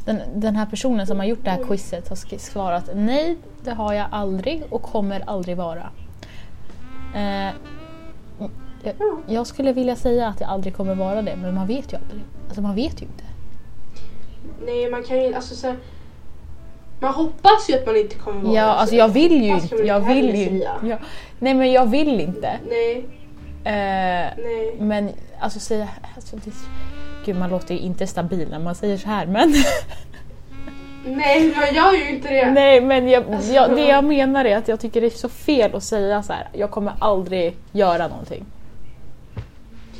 Speaker 2: Den, den här personen som har gjort det här quizet har sk- svarat nej, det har jag aldrig och kommer aldrig vara. Eh, jag,
Speaker 3: Ja.
Speaker 2: jag skulle vilja säga att jag aldrig kommer vara det, men man vet ju aldrig. Alltså man vet ju inte.
Speaker 3: Nej man kan ju alltså så här, Man hoppas ju att man inte kommer vara
Speaker 2: Ja,
Speaker 3: det, så
Speaker 2: alltså jag vill ju
Speaker 3: hoppas kan
Speaker 2: inte.
Speaker 3: man
Speaker 2: Jag
Speaker 3: heller
Speaker 2: vill ju
Speaker 3: säga.
Speaker 2: ja. Nej men jag vill inte.
Speaker 3: Nej,
Speaker 2: Eh,
Speaker 3: nej.
Speaker 2: men alltså säga... Alltså, det, gud man låter ju inte stabil när man säger så här men...
Speaker 3: Nej, jag gör ju inte det.
Speaker 2: Nej men jag,
Speaker 3: Alltså,
Speaker 2: jag, det jag menar är att jag tycker det är så fel att säga så här. jag kommer aldrig göra någonting.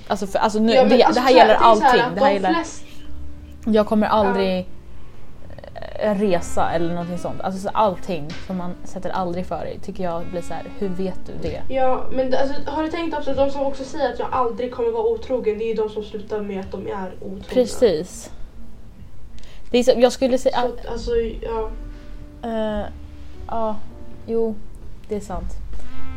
Speaker 2: Alltså, för, alltså, nu,
Speaker 3: Ja, men
Speaker 2: det,
Speaker 3: alltså
Speaker 2: det här
Speaker 3: så
Speaker 2: gäller
Speaker 3: det är så här
Speaker 2: allting.
Speaker 3: att
Speaker 2: det här
Speaker 3: de
Speaker 2: gäller,
Speaker 3: flest-
Speaker 2: jag kommer aldrig eh, resa eller någonting sånt. Alltså så allting som man sätter aldrig för dig tycker jag blir så här. hur vet du det?
Speaker 3: Ja, men det- alltså, har du tänkt också att de som också säger att jag aldrig kommer vara otrogen, det är ju de som slutar med att de är otrogna.
Speaker 2: Precis. Det är så, jag skulle säga...
Speaker 3: Så, att, alltså, ja.
Speaker 2: Eh, Ja, jo, det är sant.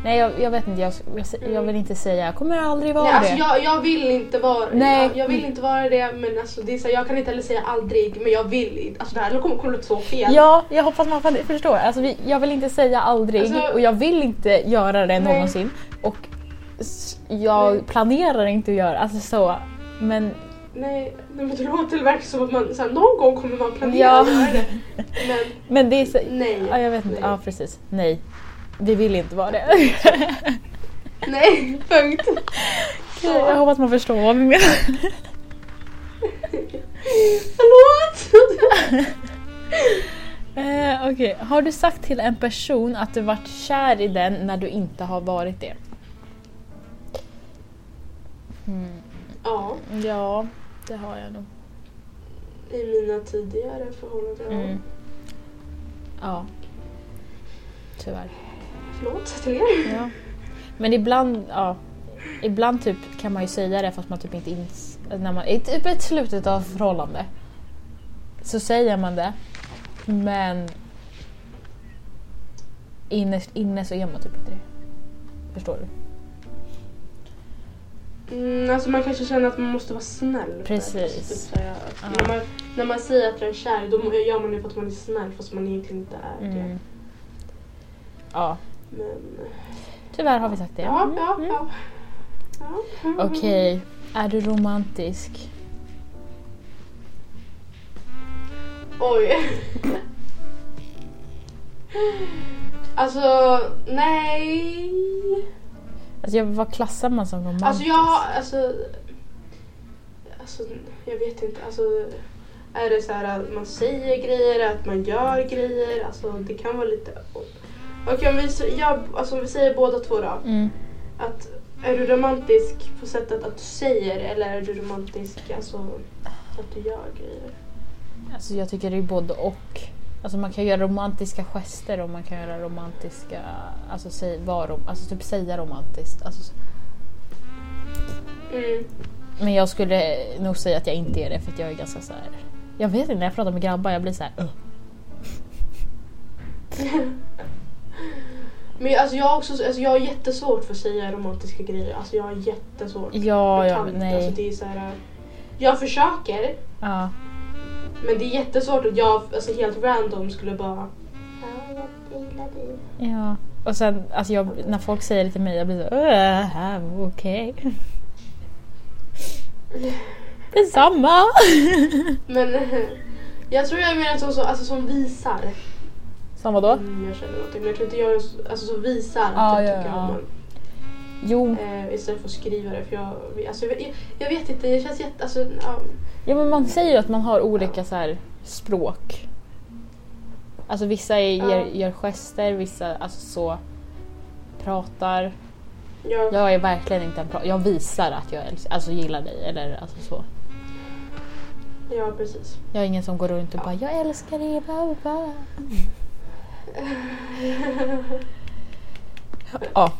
Speaker 2: Nej jag, jag vet inte, jag, jag, jag vill inte säga jag kommer aldrig vara
Speaker 3: Nej, alltså
Speaker 2: det.
Speaker 3: jag, jag vill inte vara
Speaker 2: Nej.
Speaker 3: Jag, jag vill inte vara det men alltså det är så, här, jag kan inte heller säga aldrig men jag vill inte. Alltså det här kommer kommer låta så fel.
Speaker 2: Ja, jag hoppas man fan förstår. Alltså, vi, jag vill inte säga aldrig
Speaker 3: Alltså-
Speaker 2: och jag vill inte göra det
Speaker 3: Nej.
Speaker 2: någonsin. Och s- jag
Speaker 3: Nej.
Speaker 2: planerar inte att göra alltså så. Men
Speaker 3: Nej, nej, men det låter verkligen som att man så här, någon gång kommer man planera
Speaker 2: Ja.
Speaker 3: att göra det. Men
Speaker 2: Men det är så...
Speaker 3: Nej.
Speaker 2: Ja, jag vet inte.
Speaker 3: Nej.
Speaker 2: Ja, precis. Nej. Vi vill inte vara det.
Speaker 3: nej, punkt. Så.
Speaker 2: jag hoppas man förstår vad vi menar.
Speaker 3: Förlåt!
Speaker 2: Eh, Okej. Har du sagt till en person att du varit kär i den när du inte har varit det?
Speaker 3: ja,
Speaker 2: Mm, Ja, det har jag nog.
Speaker 3: i mina tidigare förhållanden. ja.
Speaker 2: Mm. Ja. Tyvärr.
Speaker 3: Förlåt till er.
Speaker 2: Ja. Men ibland, ja. Ibland typ kan man ju säga det fast man typ inte ins... När man, I typ ett slutet av förhållande. Så säger man det. Men... Inne, inne så är man typ inte det. Förstår du?
Speaker 3: Mm, alltså man kanske känner att man måste vara snäll. för
Speaker 2: Precis.
Speaker 3: det. Typ så här,
Speaker 2: Ja.
Speaker 3: när, man, när man säger att man är kär då må- gör man det för att man är snäll fast man egentligen inte är det.
Speaker 2: Mm. Ja,
Speaker 3: Men,
Speaker 2: tyvärr har vi sagt det.
Speaker 3: ja,
Speaker 2: Mm,
Speaker 3: ja,
Speaker 2: mm.
Speaker 3: ja. ja.
Speaker 2: Okej, är du romantisk?
Speaker 3: Oj. alltså, nej.
Speaker 2: Alltså, jag, vad klassar man som romantisk?
Speaker 3: Alltså jag har, alltså. Alltså, jag vet inte. Alltså, är det så här att man säger grejer, att man gör grejer? Alltså det kan vara lite... Okej, om vi, s- jag, alltså, om vi säger båda två då.
Speaker 2: Mm.
Speaker 3: Att, är du romantisk på sättet att du säger eller är du romantisk alltså, att du gör grejer?
Speaker 2: Alltså jag tycker det är både och. Alltså man kan göra romantiska gester och man kan göra romantiska, alltså, säg, var, rom- alltså typ säga romantiskt. Alltså, så-
Speaker 3: Mm.
Speaker 2: men jag skulle nog säga att jag inte är det för att jag är ganska så här. Jag vet inte, när jag pratar med grabbar jag blir så här. "Ugh."
Speaker 3: Men alltså jag, har också, alltså jag har jättesvårt för att säga romantiska grejer. Alltså jag har jättesvårt.
Speaker 2: Ja,
Speaker 3: jag
Speaker 2: ja,
Speaker 3: kan inte.
Speaker 2: nej.
Speaker 3: Alltså det är så här, jag försöker,
Speaker 2: Ja.
Speaker 3: men det är jättesvårt att jag alltså helt random skulle bara...
Speaker 4: Ja, jag gillar dig.
Speaker 2: ja. Och sen alltså jag, när folk säger det till mig jag blir så här. "Äh, Okej. Detsamma!
Speaker 3: Men jag tror jag är mer en sån som, alltså, som visar.
Speaker 2: Som vadå?
Speaker 3: Mm, jag känner någonting. Men jag tror inte jag är en så- alltså, som visar att
Speaker 2: Ja,
Speaker 3: jag
Speaker 2: ja,
Speaker 3: tycker
Speaker 2: ja.
Speaker 3: om honom.
Speaker 2: Jo,
Speaker 3: Eh, istället för att skriva det. För jag, alltså, jag, jag, jag vet inte, det känns jätte... Alltså, ja.
Speaker 2: Ja men man säger ju att man har olika så här, språk. Alltså vissa är,
Speaker 3: Ja.
Speaker 2: ger, gör gester, vissa alltså så pratar.
Speaker 3: Jag,
Speaker 2: Jag är verkligen inte en pra- Jag visar att jag älsk- alltså, gillar dig eller alltså så.
Speaker 3: ja, precis.
Speaker 2: Jag är ingen som går runt och bara “jag älskar dig”. Bla, bla. ja.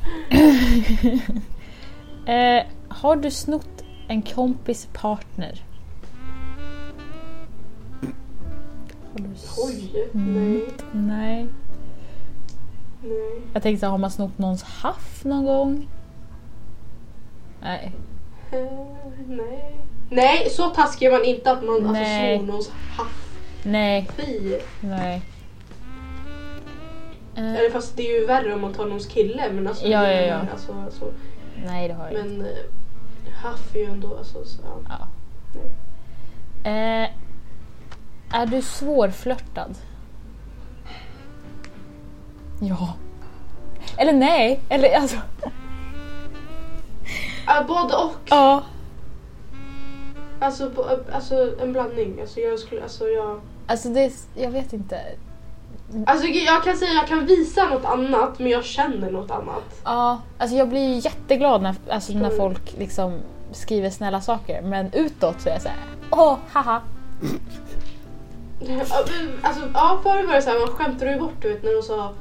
Speaker 2: eh, har du snott en kompis partner? Har du s-
Speaker 3: Oj,
Speaker 2: Mm.
Speaker 3: nej,
Speaker 2: Nej.
Speaker 3: nej.
Speaker 2: Jag tänkte, har man snott någons haff någon gång? Nej.
Speaker 3: Eh, nej. Nej, så taskig är man inte att man alltså,
Speaker 2: Nej.
Speaker 3: snor någons haff.
Speaker 2: Nej.
Speaker 3: Fy.
Speaker 2: Nej. Eh,
Speaker 3: Eller fast det är ju värre om man tar någons kille. Men alltså,
Speaker 2: Ja, ja, ja.
Speaker 3: Alltså, så.
Speaker 2: nej, det har jag inte.
Speaker 3: Men eh, haff är ju ändå... Alltså, så, ja.
Speaker 2: Ja. Eh, är du svårflörtad? Ja. Eller nej. Eller alltså.
Speaker 3: Ah, både och.
Speaker 2: Ja.
Speaker 3: Alltså, bo, alltså en blandning. Alltså, jag, skulle, alltså, jag,
Speaker 2: Alltså det, är s- jag vet inte.
Speaker 3: alltså, jag kan säga jag kan visa något annat men jag känner något annat.
Speaker 2: Ja, alltså jag blir ju jätteglad när, alltså när
Speaker 3: Mm.
Speaker 2: folk liksom skriver snälla saker men utåt så är jag såhär åh, haha.
Speaker 3: Ja, men, alltså, ja, förr var det så här, man skämtade ju bort du vet, när de sa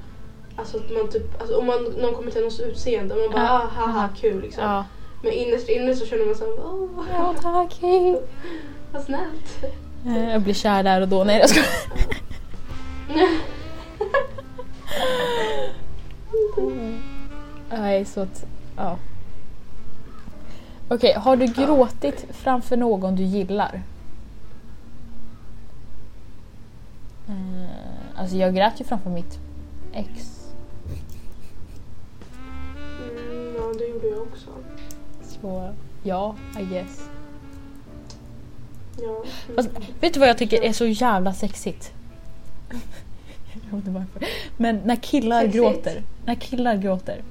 Speaker 3: alltså, att man typ, alltså, om man, någon kommer till någons utseende. Man bara
Speaker 2: Ja.
Speaker 3: ah, haha kul liksom.
Speaker 2: Ja.
Speaker 3: Men innerst inne så känner man såhär, åh,
Speaker 2: Ja, tack, hej.
Speaker 3: vad snällt.
Speaker 2: Eh, Jag blir kär där och då. Nej, jag skojar.
Speaker 3: Mm,
Speaker 2: Eh, Nej, så att... Ja. Okej, har du gråtit framför någon du gillar? Eh, alltså jag grät ju framför mitt ex.
Speaker 3: Mm, ja, det gjorde jag också.
Speaker 2: Så ja, I guess.
Speaker 3: Ja. Mm.
Speaker 2: Fast, vet du vad jag tycker är så jävla sexigt? jag vet inte varför. Men när killar
Speaker 3: Sexigt?
Speaker 2: gråter. När killar gråter.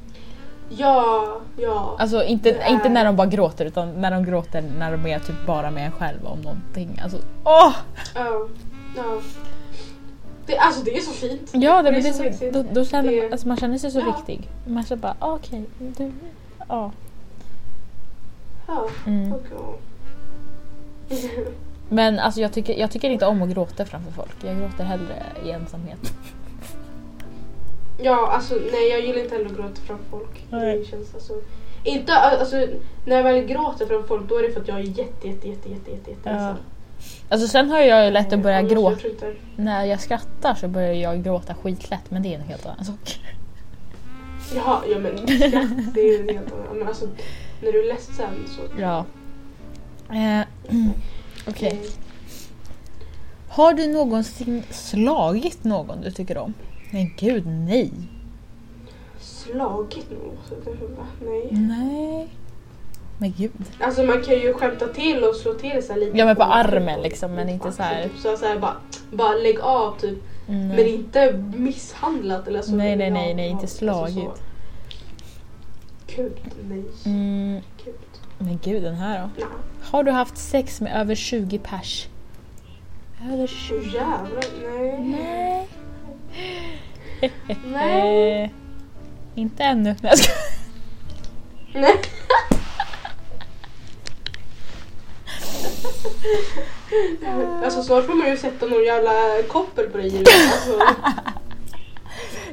Speaker 3: Ja, ja.
Speaker 2: Alltså inte,
Speaker 3: Det är-
Speaker 2: inte när de bara gråter utan när de gråter när de är typ bara med en själv om någonting. Alltså, åh!
Speaker 3: ja, ja. Det, alltså det är så fint.
Speaker 2: Ja, det,
Speaker 3: Det är
Speaker 2: men det
Speaker 3: så
Speaker 2: är så,
Speaker 3: sexigt.
Speaker 2: då, då känner man,
Speaker 3: Det-
Speaker 2: alltså man känner sig så
Speaker 3: Ja.
Speaker 2: viktig. Man känner bara ah, okej, du, ja.
Speaker 3: Ja,
Speaker 2: Mm.
Speaker 3: okej.
Speaker 2: Men alltså jag tycker, jag tycker inte om att gråta framför folk. Jag gråter hellre i ensamhet.
Speaker 3: Ja, alltså nej jag gillar inte heller att gråta framför folk.
Speaker 2: Nej.
Speaker 3: Det känns alltså... Inte, alltså, när jag väl gråter framför folk då är det för att jag är jätte, jätte, jätte, jätte, jätte, jätte
Speaker 2: Ja.
Speaker 3: ledsen.
Speaker 2: Alltså sen har jag ju lätt att börja
Speaker 3: Annars jag
Speaker 2: gråta.
Speaker 3: tror inte-
Speaker 2: När jag skrattar så börjar jag gråta skitlätt men det är en helt annan sak.
Speaker 3: Jaha, ja men skratt det är ju en helt annan. Men alltså när du är ledsen så...
Speaker 2: Ja. Eh, Okej.
Speaker 3: Mm.
Speaker 2: Har du någonsin slagit någon du tycker om? Men gud nej.
Speaker 3: Slagit någon? så det är bara, Nej.
Speaker 2: Nej. Men gud.
Speaker 3: Alltså man kan ju skämta till och slå till så här lite.
Speaker 2: Ja, men på
Speaker 3: Och-
Speaker 2: armen liksom, men inte så här.
Speaker 3: Typ, så så här bara, bara lägg av typ.
Speaker 2: Mm.
Speaker 3: Men inte misshandlat eller så.
Speaker 2: Nej, nej,
Speaker 3: Ja,
Speaker 2: nej, nej, inte
Speaker 3: alltså,
Speaker 2: slagit.
Speaker 3: så. Gud, nej.
Speaker 2: Mm,
Speaker 3: Gud.
Speaker 2: men gud den här då.
Speaker 3: Nej.
Speaker 2: Har du haft sex med över 20 pers? Över
Speaker 3: Så
Speaker 2: 20?
Speaker 3: jävla, nej.
Speaker 2: Nej.
Speaker 3: Nej.
Speaker 2: Eh, inte ännu. Nej, jag skojar.
Speaker 3: nej. Alltså snart får man ju sätta någon jävla koppel på dig i ryggen, alltså.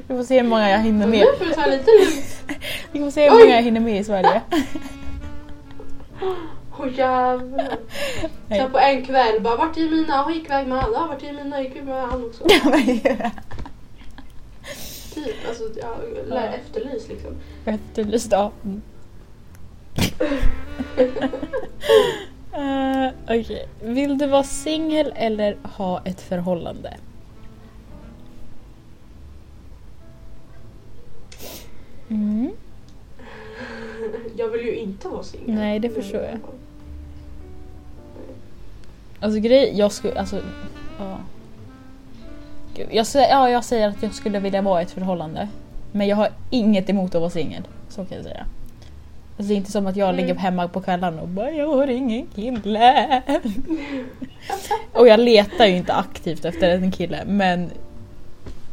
Speaker 2: Vi får se hur många jag hinner
Speaker 3: Men
Speaker 2: med.
Speaker 3: nu får du ta lite lugnt.
Speaker 2: Vi får se hur
Speaker 3: Oj.
Speaker 2: många jag hinner med i Sverige.
Speaker 3: Åh jävlar. Så här på en kväll bara vart är mina? Hon gick iväg med han. Ja vart är mina? Gick iväg med han också. Typ alltså jag lär efterlyst liksom.
Speaker 2: Efterlyst ja. Mm. Eh, Okej. Vill du vara singel eller ha ett förhållande? Mm.
Speaker 3: Jag vill ju inte vara singel.
Speaker 2: Nej, det förstår jag. Alltså grej, jag skulle, alltså, ja. Gud, jag, sä- ja, jag säger att jag skulle vilja vara i ett förhållande. Men jag har inget emot att vara singel. Så kan jag säga. Alltså, det är inte som att jag
Speaker 3: Mm.
Speaker 2: ligger hemma på kvällarna och bara jag har ingen kille. och jag letar ju inte aktivt efter en kille men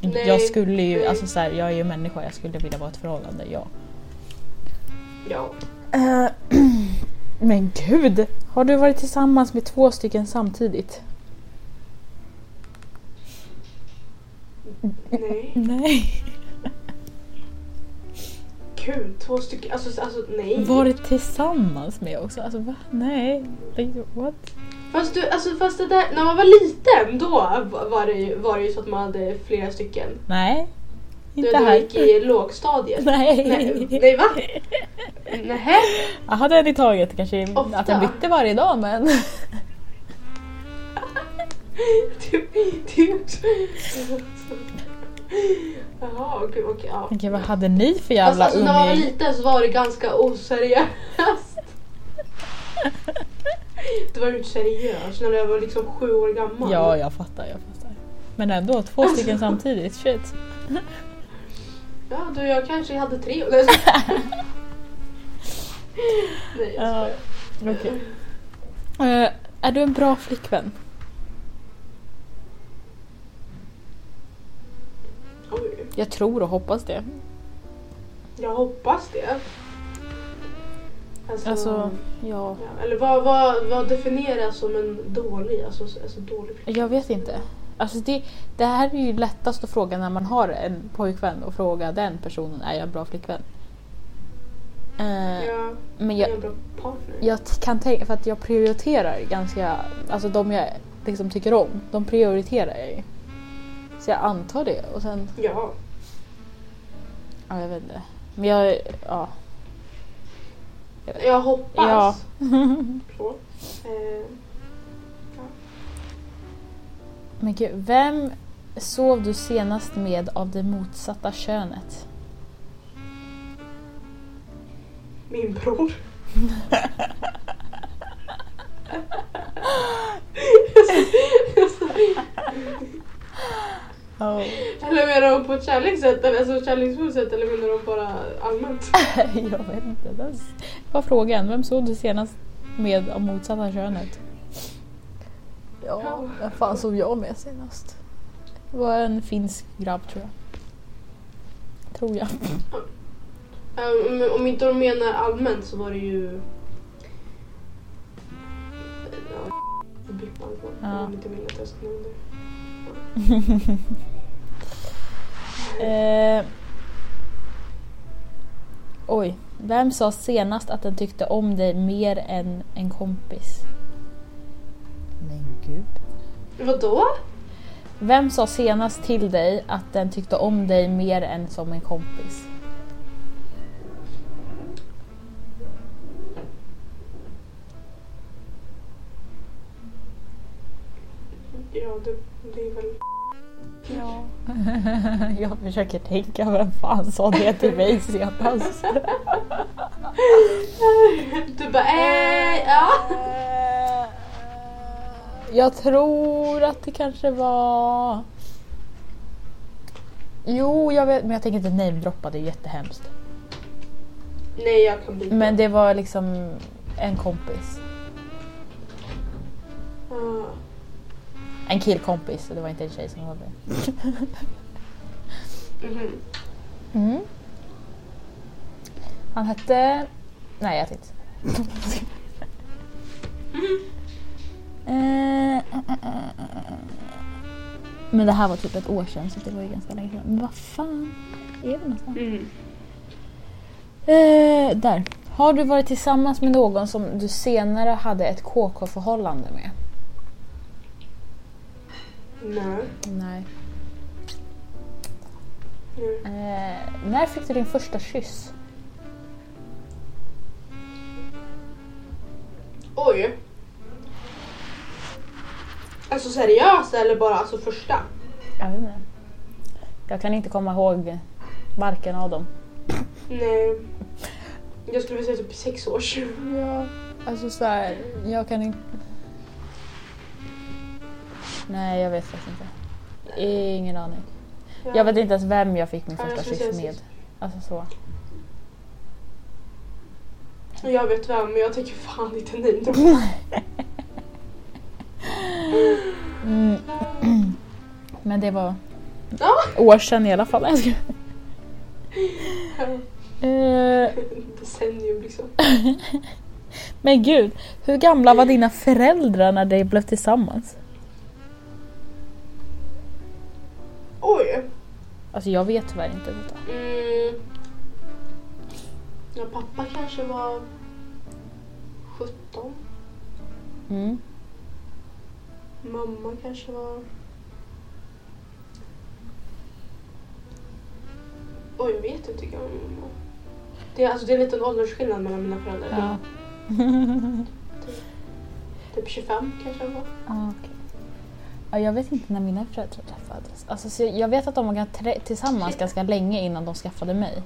Speaker 3: Nej,
Speaker 2: jag skulle ju,
Speaker 3: nej.
Speaker 2: alltså så här, jag är ju människa, jag skulle vilja vara i ett förhållande, ja.
Speaker 3: Ja.
Speaker 2: Eh, Men gud! Har du varit tillsammans med två stycken samtidigt?
Speaker 3: Nej.
Speaker 2: Nej.
Speaker 3: Gud, två stycken. Alltså, alltså nej.
Speaker 2: Varit tillsammans med också? Alltså va? Nej. Like, what?
Speaker 3: Fast, du, alltså, fast det där, när man var liten då var det, ju- var det ju så att man hade flera stycken.
Speaker 2: Nej.
Speaker 3: Du
Speaker 2: Inte
Speaker 3: vet när man
Speaker 2: här.
Speaker 3: gick i lågstadiet. Nej,
Speaker 2: Nej.
Speaker 3: nej va? Nähä?
Speaker 2: Jag hade en i taget kanske.
Speaker 3: Ofta.
Speaker 2: Att de bytte varje dag men.
Speaker 3: Du, du. Jaha, okej. okej, ja.
Speaker 2: Okej, vad hade ni för
Speaker 3: Fast
Speaker 2: jävla
Speaker 3: alltså, när man var
Speaker 2: umgänge?
Speaker 3: liten så var det ganska oseriöst. Det var ju inte seriöst när jag var liksom sju år gammal.
Speaker 2: Ja, jag fattar, jag fattar. Men ändå, två stycken samtidigt. Shit.
Speaker 3: Ja, du jag kanske hade tre. Nej, jag skojar. Nej, jag
Speaker 2: Ja,
Speaker 3: skojar.
Speaker 2: Okej.
Speaker 3: Mm.
Speaker 2: Eh, är du en bra flickvän?
Speaker 3: Oj,
Speaker 2: Jag tror och hoppas det.
Speaker 3: jag hoppas det. Alltså,
Speaker 2: Alltså, ja.
Speaker 3: ja, eller vad, vad, vad definieras som en dålig? Alltså, alltså dålig flicka?
Speaker 2: Jag vet inte. Alltså det, det här är ju lättast att fråga när man har en pojkvän och fråga den personen, är jag en bra flickvän? Eh,
Speaker 3: Ja,
Speaker 2: men
Speaker 3: jag
Speaker 2: jag,
Speaker 3: är en bra partner.
Speaker 2: jag t- kan tänka, för att jag prioriterar ganska, alltså de jag liksom tycker om, de prioriterar jag ju. Så jag antar det och sen,
Speaker 3: Ja.
Speaker 2: ja jag vet inte. Men jag, ja.
Speaker 3: Jag hoppas.
Speaker 2: Ja.
Speaker 3: Så. Eh,
Speaker 2: Men gud, vem sov du senast med av det motsatta könet?
Speaker 3: min bror.
Speaker 2: Oh.
Speaker 3: eller menar de på ett kärlekssätt, eller alltså kärleksfullt sätt eller menar de bara allmänt?
Speaker 2: jag vet inte. Det var frågan. Vem sov du senast med av motsatta könet? Ja, vem fan sov jag med senast? Det var en finsk grabb tror jag. Tror jag.
Speaker 3: Eh, om- om inte de menar allmänt så var det ju... Ja, blippa allt vad-
Speaker 2: Ja.
Speaker 3: om de inte vill att jag ska nämna det.
Speaker 2: Eh. Oj. Vem sa senast att den tyckte om dig mer än en kompis? Men gud.
Speaker 3: Vadå?
Speaker 2: Vem sa senast till dig att den tyckte om dig mer än som en kompis?
Speaker 3: Ja, det, det är väl...
Speaker 2: Ja. Jag försöker tänka vem fan sa det till mig senast?
Speaker 3: Du bara eh, ja.
Speaker 2: Eh, Jag tror att det kanske var... Jo, jag vet, men jag tänker inte namedroppa, det är jättehemskt.
Speaker 3: Nej, jag kan bli
Speaker 2: Men det var liksom en kompis.
Speaker 3: Ja.
Speaker 2: En killkompis, så det var inte en tjej som var med.
Speaker 3: Mhm.
Speaker 2: Mm. Han hette... Nej, jag tänkte Eh, eh, eh, eh, eh. Men det här var typ ett år sedan så det var ju ganska länge sedan. Men vad fan är vi någonstans?
Speaker 3: Mm.
Speaker 2: Eh, där. Har du varit tillsammans med någon som du senare hade ett KK-förhållande med?
Speaker 3: Nej.
Speaker 2: Nej.
Speaker 3: Nej.
Speaker 2: Eh, när fick du din första kyss?
Speaker 3: Oj. Alltså seriöst eller bara alltså första?
Speaker 2: Jag vet inte. Jag kan inte komma ihåg varken av dem.
Speaker 3: Nej. Jag skulle vilja säga typ sex års.
Speaker 2: Ja, alltså så här, jag kan inte... Nej, jag vet faktiskt inte. Ingen aning. Jag vet inte ens vem jag fick min
Speaker 3: Ja, jag
Speaker 2: första
Speaker 3: skulle
Speaker 2: kyss
Speaker 3: säga
Speaker 2: med.
Speaker 3: sist.
Speaker 2: Alltså så.
Speaker 3: Jag vet vem men jag tänker fan inte nej. då.
Speaker 2: Mm. Men det var
Speaker 3: Ja.
Speaker 2: år sedan i alla fall. Jag skojar. Eh,
Speaker 3: Decennium liksom.
Speaker 2: Men gud, hur gamla var dina föräldrar när de blev tillsammans?
Speaker 3: Oj.
Speaker 2: Alltså jag vet tyvärr inte detta.
Speaker 3: Mm. Ja, pappa kanske var 17.
Speaker 2: Mm.
Speaker 3: Mamma kanske var... Oj, jag vet inte vilken mamma. Det är, alltså, det är en liten åldersskillnad mellan mina föräldrar.
Speaker 2: Ja.
Speaker 3: Typ 25 kanske jag var.
Speaker 2: Ah, okej. ja, jag vet inte när mina föräldrar träffades. Alltså, så jag jag vet att de var ganska trä- tillsammans ganska länge innan de skaffade mig.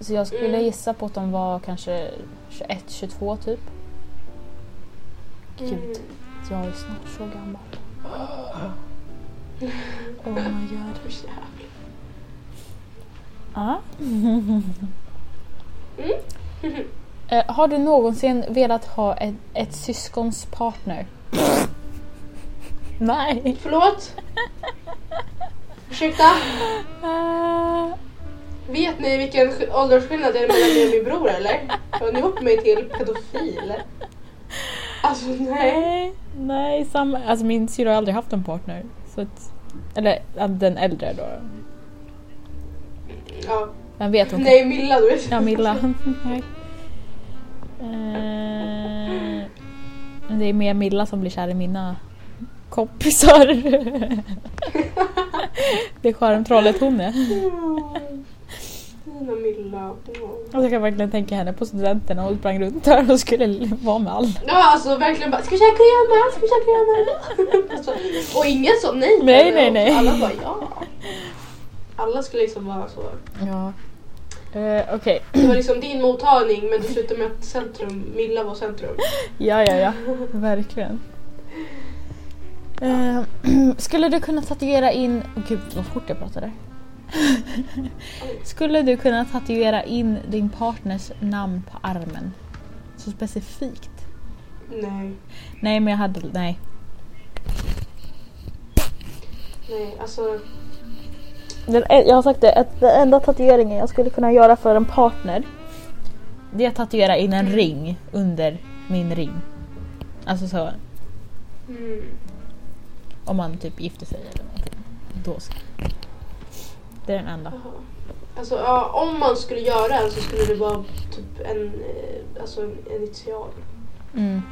Speaker 2: Så jag skulle
Speaker 3: Mm.
Speaker 2: gissa på att de var kanske 21-22 typ. Gud,
Speaker 3: Mm.
Speaker 2: jag är ju snart så gammal. Oh my god.
Speaker 3: Hur jävlar.
Speaker 2: Ah.
Speaker 3: Mm.
Speaker 2: Eh, har du någonsin velat ha ett, ett syskons partner? Nej.
Speaker 3: Förlåt? Ursäkta?
Speaker 2: Eh,
Speaker 3: Vet ni vilken sk- åldersskillnad det är mellan mig och min bror eller? Har ni ihop mig till pedofil? Alltså nej.
Speaker 2: Nej, nej samma. Alltså min syrra har aldrig haft en partner. Så att, eller ja, den äldre då.
Speaker 3: Ja.
Speaker 2: Vem vet? Hon
Speaker 3: Nej, Milla du vet.
Speaker 2: Ja, Milla. Nej. Eh, det är mer Milla som blir kär i mina kompisar. Alltså, det är charmtrollet hon är.
Speaker 3: Mm. Milla. Åh.
Speaker 2: Alltså jag kan verkligen tänka henne på studenterna och sprang runt där och skulle vara med alla.
Speaker 3: Ja alltså verkligen bara, ska vi käka krema? Ska vi käka krema? alltså, och ingen sa nej.
Speaker 2: Nej, nej, nej.
Speaker 3: Alla bara ja. Alla skulle liksom vara så.
Speaker 2: Ja. Eh, Okej,
Speaker 3: Det var liksom din mottagning men det slutade med att centrum, Milla var centrum.
Speaker 2: ja ja ja, verkligen. Eh, skulle du kunna tatuera in... Oh, gud vad fort jag pratade. skulle du kunna tatuera in din partners namn på armen? Så specifikt.
Speaker 3: Nej,
Speaker 2: Nej men jag hade... Nej.
Speaker 3: nej alltså.
Speaker 2: Den, jag har sagt det, att den enda tatueringen jag skulle kunna göra för en partner det är att tatuera in en ring under min ring. Alltså så,
Speaker 3: Mm.
Speaker 2: om man typ gifter sig eller någonting. Då ska. Det är den enda.
Speaker 3: Jaha. Alltså ja, om man skulle göra en så skulle det vara typ en, eh, alltså en initial.
Speaker 2: Mm.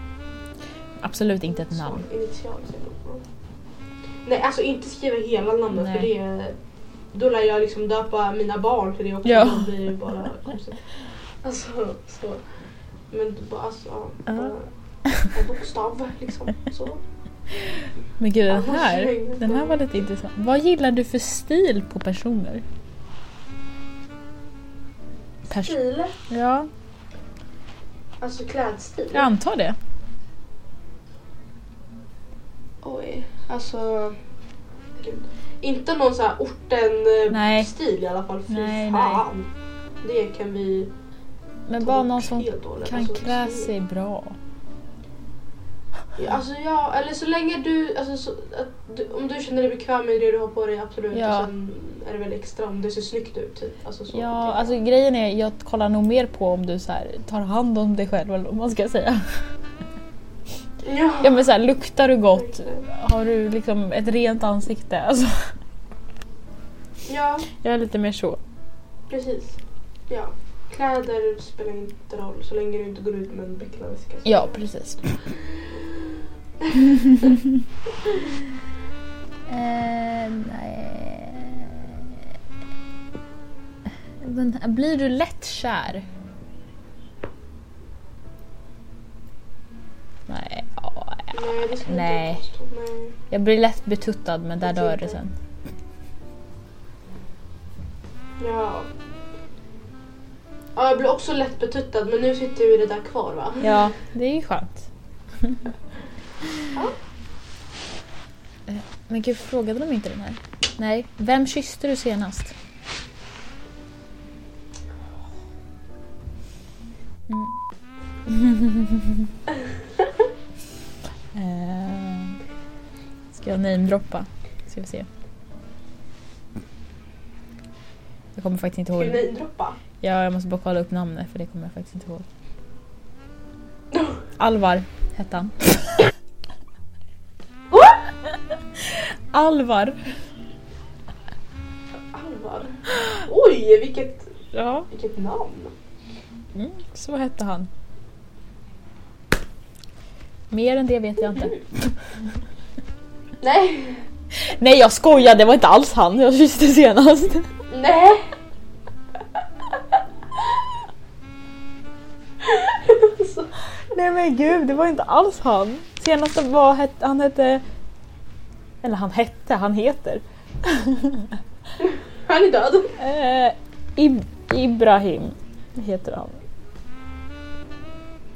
Speaker 2: Absolut inte ett namn.
Speaker 3: Så, initial säger man. Nej alltså inte skriva hela namnet
Speaker 2: Nej.
Speaker 3: för det är, då lär jag liksom döpa mina barn till det också.
Speaker 2: Ja.
Speaker 3: Då blir det bara konstigt. Alltså så. Men du bara alltså ja,
Speaker 2: Ja.
Speaker 3: bara en bokstav liksom. Så.
Speaker 2: Men gud den
Speaker 3: Annars
Speaker 2: här,
Speaker 3: är det inget
Speaker 2: den här
Speaker 3: namn.
Speaker 2: var lite intressant. Vad gillar du för stil på personer? Pers-
Speaker 3: Stil,
Speaker 2: ja,
Speaker 3: alltså klädstil.
Speaker 2: jag antar det.
Speaker 3: Oj, alltså. gud. Inte någon så här orten
Speaker 2: Nej.
Speaker 3: eh, stil i alla fall. Fy
Speaker 2: Nej,
Speaker 3: fan. Det kan vi
Speaker 2: Men
Speaker 3: ta
Speaker 2: bara
Speaker 3: bort
Speaker 2: någon som
Speaker 3: helt och hållet.
Speaker 2: kan
Speaker 3: Alltså,
Speaker 2: klä
Speaker 3: stil.
Speaker 2: sig bra.
Speaker 3: Ja, Alltså ja, eller så länge du, alltså, så, att du, om du känner dig bekväm med det du har på dig, absolut.
Speaker 2: Ja.
Speaker 3: Och sen är det väl extra om det ser snyggt ut. Typ. Alltså, så,
Speaker 2: Ja,
Speaker 3: typ.
Speaker 2: alltså grejen är jag kollar nog mer på om du så här, tar hand om dig själv eller vad man ska säga.
Speaker 3: ja.
Speaker 2: Ja men så här, luktar du gott?
Speaker 3: Verkligen.
Speaker 2: Har du liksom ett rent ansikte? Alltså,
Speaker 3: ja,
Speaker 2: jag är lite mer så.
Speaker 3: precis. Ja. Kläder spelar inte roll så länge du inte går ut med en becknarväska. så-
Speaker 2: Ja, precis. Ehm, nej. Den här, blir du lätt kär? Nej, ja,
Speaker 3: Nej, det skulle
Speaker 2: Nej.
Speaker 3: inte påstå. Nej.
Speaker 2: jag blir lätt betuttad men där dör det sen.
Speaker 3: Ja. ja, jag blir också lätt betuttad men nu sitter ju det där kvar va?
Speaker 2: Ja, det är ju skönt.
Speaker 3: Ja.
Speaker 2: Eh, Men gud, frågade de inte den här? Nej. Vem kysste du senast? Mm. Eh, Ska jag namedroppa? Ska vi se. Jag kommer faktiskt inte
Speaker 3: Ska vi
Speaker 2: ihåg.
Speaker 3: namedroppa?
Speaker 2: Ja, jag måste bara kolla upp namnet för det kommer jag faktiskt inte ihåg. Alvar hette han. Alvar.
Speaker 3: Alvar? Oj, vilket,
Speaker 2: Ja.
Speaker 3: vilket namn!
Speaker 2: Mm, så hette han. Mer än det vet jag inte.
Speaker 3: Nej!
Speaker 2: Nej jag skojar, det var inte alls han jag kysste senast.
Speaker 3: Nej! alltså,
Speaker 2: Nej men gud, det var inte alls han. Senast var het- han hette... Eller han hette, han heter.
Speaker 3: han är död.
Speaker 2: Eh, Ib- Ibrahim heter han.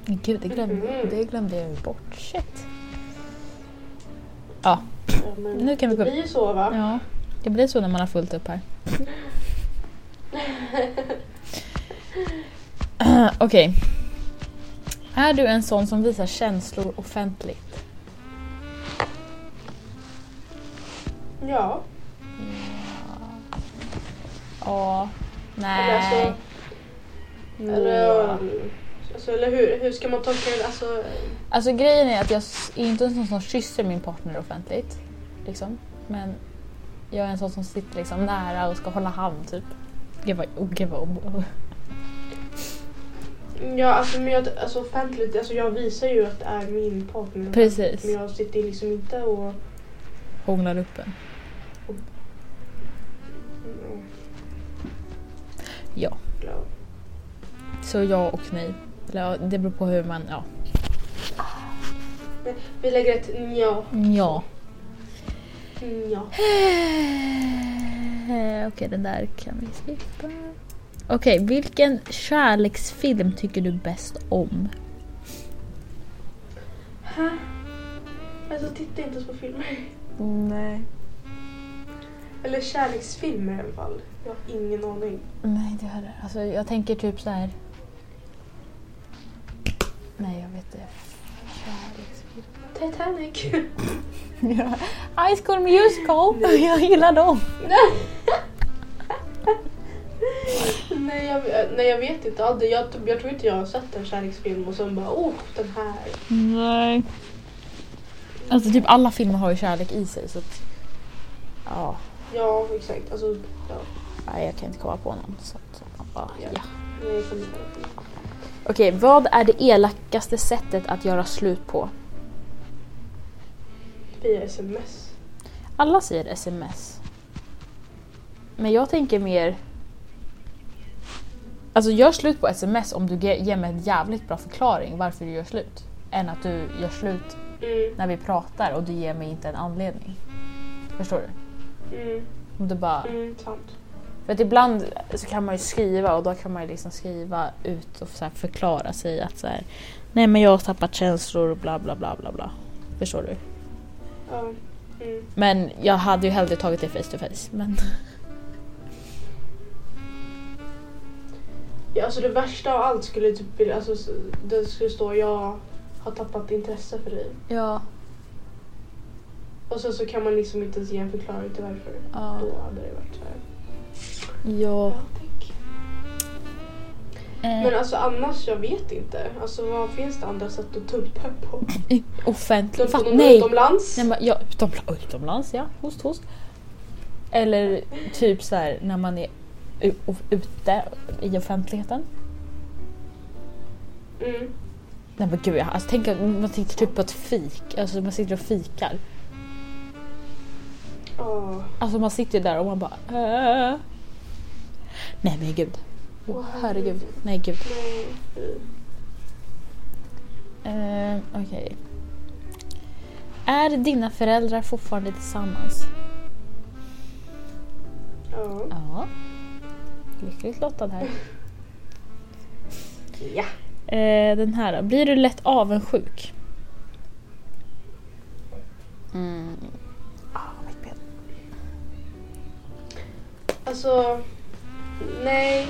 Speaker 2: Gud, det
Speaker 3: Mm.
Speaker 2: glömde, det glömde jag ju bort. Shit. Ja,
Speaker 3: Ja, men
Speaker 2: Nu kan vi gå-
Speaker 3: Det blir ju så va?
Speaker 2: ja, det blir så när man har fullt upp här. Okej. Är du en sån som visar känslor offentligt?
Speaker 3: Ja.
Speaker 2: Ja.
Speaker 3: Eller
Speaker 2: Nej.
Speaker 3: alltså, eller, alltså, eller hur, hur ska man tolka det? Alltså,
Speaker 2: Alltså grejen är att jag s- är inte en sån som kysser min partner offentligt. Liksom. Men jag är en sån som sitter liksom nära och ska hålla hand typ. Gud vad, oh, gud vad ob-
Speaker 3: ja, alltså, men jag, alltså offentligt, alltså, jag visar ju att det är min partner. Men
Speaker 2: Precis.
Speaker 3: jag sitter liksom inte och...
Speaker 2: Hånglar upp en.
Speaker 3: Mm.
Speaker 2: Ja.
Speaker 3: Ja.
Speaker 2: Så ja och nej. Eller, ja, det beror på hur man... Ja.
Speaker 3: Nej, Vi lägger ett nja.
Speaker 2: Mm, ja.
Speaker 3: nja.
Speaker 2: Eh, Okej, den där kan vi skippa. Okej, vilken kärleksfilm tycker du bäst om?
Speaker 3: Hä? Alltså titta inte på filmer.
Speaker 2: Nej.
Speaker 3: Eller kärleksfilmer i alla fall. Jag har ingen aning.
Speaker 2: Nej, det hör jag. Alltså, jag tänker typ så här... Nej, jag vet inte. Kärleksfilm.
Speaker 3: Titanic.
Speaker 2: Ja. High School Musical! Jag gillar dem!
Speaker 3: nej, jag, nej jag vet inte. Aldrig. Jag, jag tror inte jag har sett en kärleksfilm och sen bara oh den här.
Speaker 2: Nej. Alltså typ alla filmer har ju kärlek i sig så att... Ja,
Speaker 3: Ja exakt. Alltså ja.
Speaker 2: nej, jag kan inte komma på någon så att... man bara,
Speaker 3: Ja.
Speaker 2: ja.
Speaker 3: Nej, jag kommer inte ihåg.
Speaker 2: Okej, vad är det elakaste sättet att göra slut på?
Speaker 3: Via sms.
Speaker 2: Alla säger sms. Men jag tänker mer... Alltså gör slut på sms om du ge- ger mig en jävligt bra förklaring varför du gör slut. Än att du gör slut
Speaker 3: Mm,
Speaker 2: när vi pratar och du ger mig inte en anledning. Förstår du?
Speaker 3: mm,
Speaker 2: Om du bara...
Speaker 3: mm, sant.
Speaker 2: För att ibland så kan man ju skriva och då kan man ju liksom skriva ut och så här förklara sig att så här, Nej men jag har tappat känslor och bla bla bla bla bla. Förstår du?
Speaker 3: Ja. Mm.
Speaker 2: Men jag hade ju hellre tagit det face to face. Men...
Speaker 3: Ja, alltså det värsta av allt skulle typ bli- alltså, s- det skulle stå jag har tappat intresse för dig.
Speaker 2: Ja.
Speaker 3: Och sen så kan man liksom inte ens ge en förklaring till varför.
Speaker 2: Ja.
Speaker 3: Då hade det varit så här.
Speaker 2: Ja.
Speaker 3: Ja, tack.
Speaker 2: Eh,
Speaker 3: Men alltså annars, jag vet inte. Alltså vad finns det andra sätt att dumpa på?
Speaker 2: Offentligt.
Speaker 3: Dumpa
Speaker 2: Fan,
Speaker 3: någon
Speaker 2: nej!
Speaker 3: utomlands?
Speaker 2: nej men, ja, utomla- utomlands ja, host host. Eller typ så här när man är u- o- ute i offentligheten.
Speaker 3: Mm.
Speaker 2: Nej men gud, jag, alltså, tänk om man sitter typ på ett fik, alltså man sitter och fikar.
Speaker 3: Ja.
Speaker 2: Alltså man sitter ju där och man bara... "Äh." Nej men gud. Åh, herregud. Nej gud.
Speaker 3: nej. fy.
Speaker 2: Eh, Okej. Är dina föräldrar fortfarande tillsammans?
Speaker 3: Ja.
Speaker 2: Ja. Lyckligt lottad här.
Speaker 3: Ja.
Speaker 2: Eh, den här då. Blir du lätt avundsjuk? Mm. Ah, mitt ben.
Speaker 3: Alltså, nej.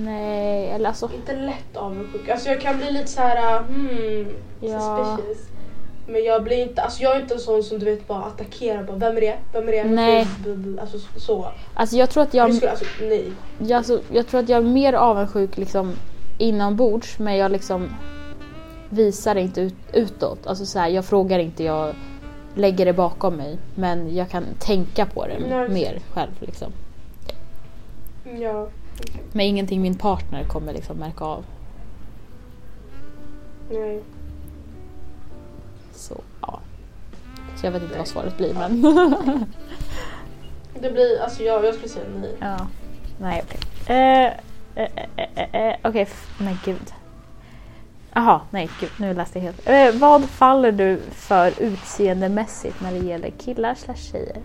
Speaker 2: Nej, eller alltså...
Speaker 3: Inte lätt avundsjuk. Alltså jag kan bli lite så här, uh, hmm,
Speaker 2: Ja.
Speaker 3: suspicious. Men jag blir inte, alltså jag är inte en sån som du vet bara attackerar bara, vem är det? Vem är det?
Speaker 2: Nej.
Speaker 3: Alltså så.
Speaker 2: Alltså jag tror att jag...
Speaker 3: Jag skulle, alltså nej.
Speaker 2: Jag, alltså, jag tror att jag är mer avundsjuk liksom inombords men jag liksom visar det inte ut, utåt. Alltså så här, jag frågar inte, jag lägger det bakom mig. Men jag kan tänka på det
Speaker 3: Nej.
Speaker 2: mer själv. Liksom.
Speaker 3: Ja.
Speaker 2: Men ingenting min partner kommer liksom märka av.
Speaker 3: Nej.
Speaker 2: Så, ja. så jag vet inte vad svaret blir men...
Speaker 3: Det blir, alltså jag, jag skulle säga nej.
Speaker 2: ja. Nej okej. Eh, eh, eh, eh, eh, okej, f- men gud. Jaha, nej gud, nu läste jag helt. Eh, vad faller du för utseendemässigt när det gäller killar slash tjejer?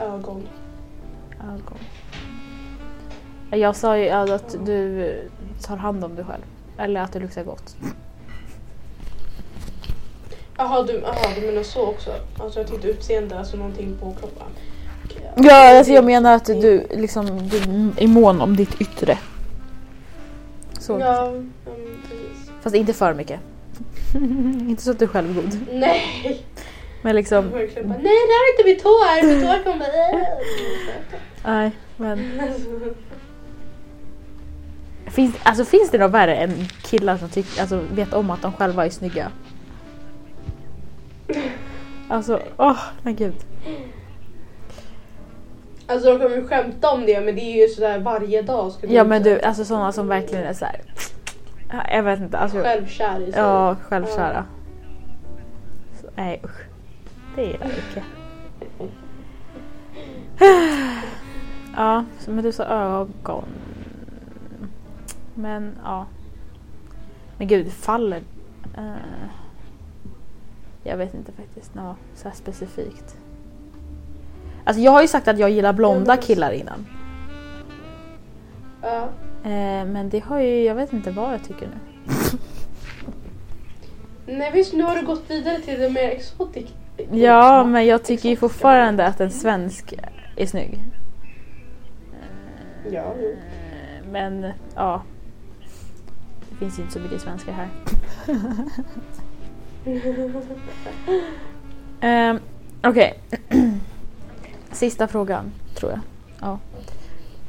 Speaker 3: Ögon.
Speaker 2: Ögon. Jag sa ju ja, att du tar hand om dig själv. Eller att du luktar gott.
Speaker 3: Jaha du, aha, du menar så också? Alltså jag tänkte utseende, alltså någonting på kroppen. Okej,
Speaker 2: Ja, alltså jag menar att du, liksom, du är mån om ditt yttre. Så.
Speaker 3: Ja, mm, precis.
Speaker 2: Fast inte för mycket. inte så att du är självgod.
Speaker 3: Nej!
Speaker 2: Men liksom...
Speaker 3: Verkligen bara, nej det här är inte mitt hår! Mitt hår kommer...
Speaker 2: Nej, men...
Speaker 3: Alltså,
Speaker 2: Finns, alltså, finns det något värre än killar som tycker, alltså, vet om att de själva är snygga? Alltså, åh, nej gud.
Speaker 3: Alltså de kommer ju skämta om det men det är ju sådär varje dag. Ska
Speaker 2: Ja men du, alltså sådana som verkligen är såhär... Jag vet inte, alltså...
Speaker 3: Självkär i sig.
Speaker 2: Ja, självkära. Så, nej usch. Det gillar jag inte. Ja, så- men du sa ögon. Men ja. Men gud, faller... eh, jag vet inte faktiskt något så här specifikt. Alltså jag har ju sagt att jag gillar blonda
Speaker 3: men-
Speaker 2: killar innan.
Speaker 3: Ja.
Speaker 2: Eh, men det har ju... Jag vet inte vad jag tycker nu.
Speaker 3: Nej visst, nu har du gått vidare till det mer exotic.
Speaker 2: Ja, men jag tycker ju fortfarande att en svensk är snygg.
Speaker 3: Ja, jo.
Speaker 2: Eh, Men ja. Det finns ju inte så mycket svenskar här. Ehm, Okej. Sista frågan, tror jag. Ja.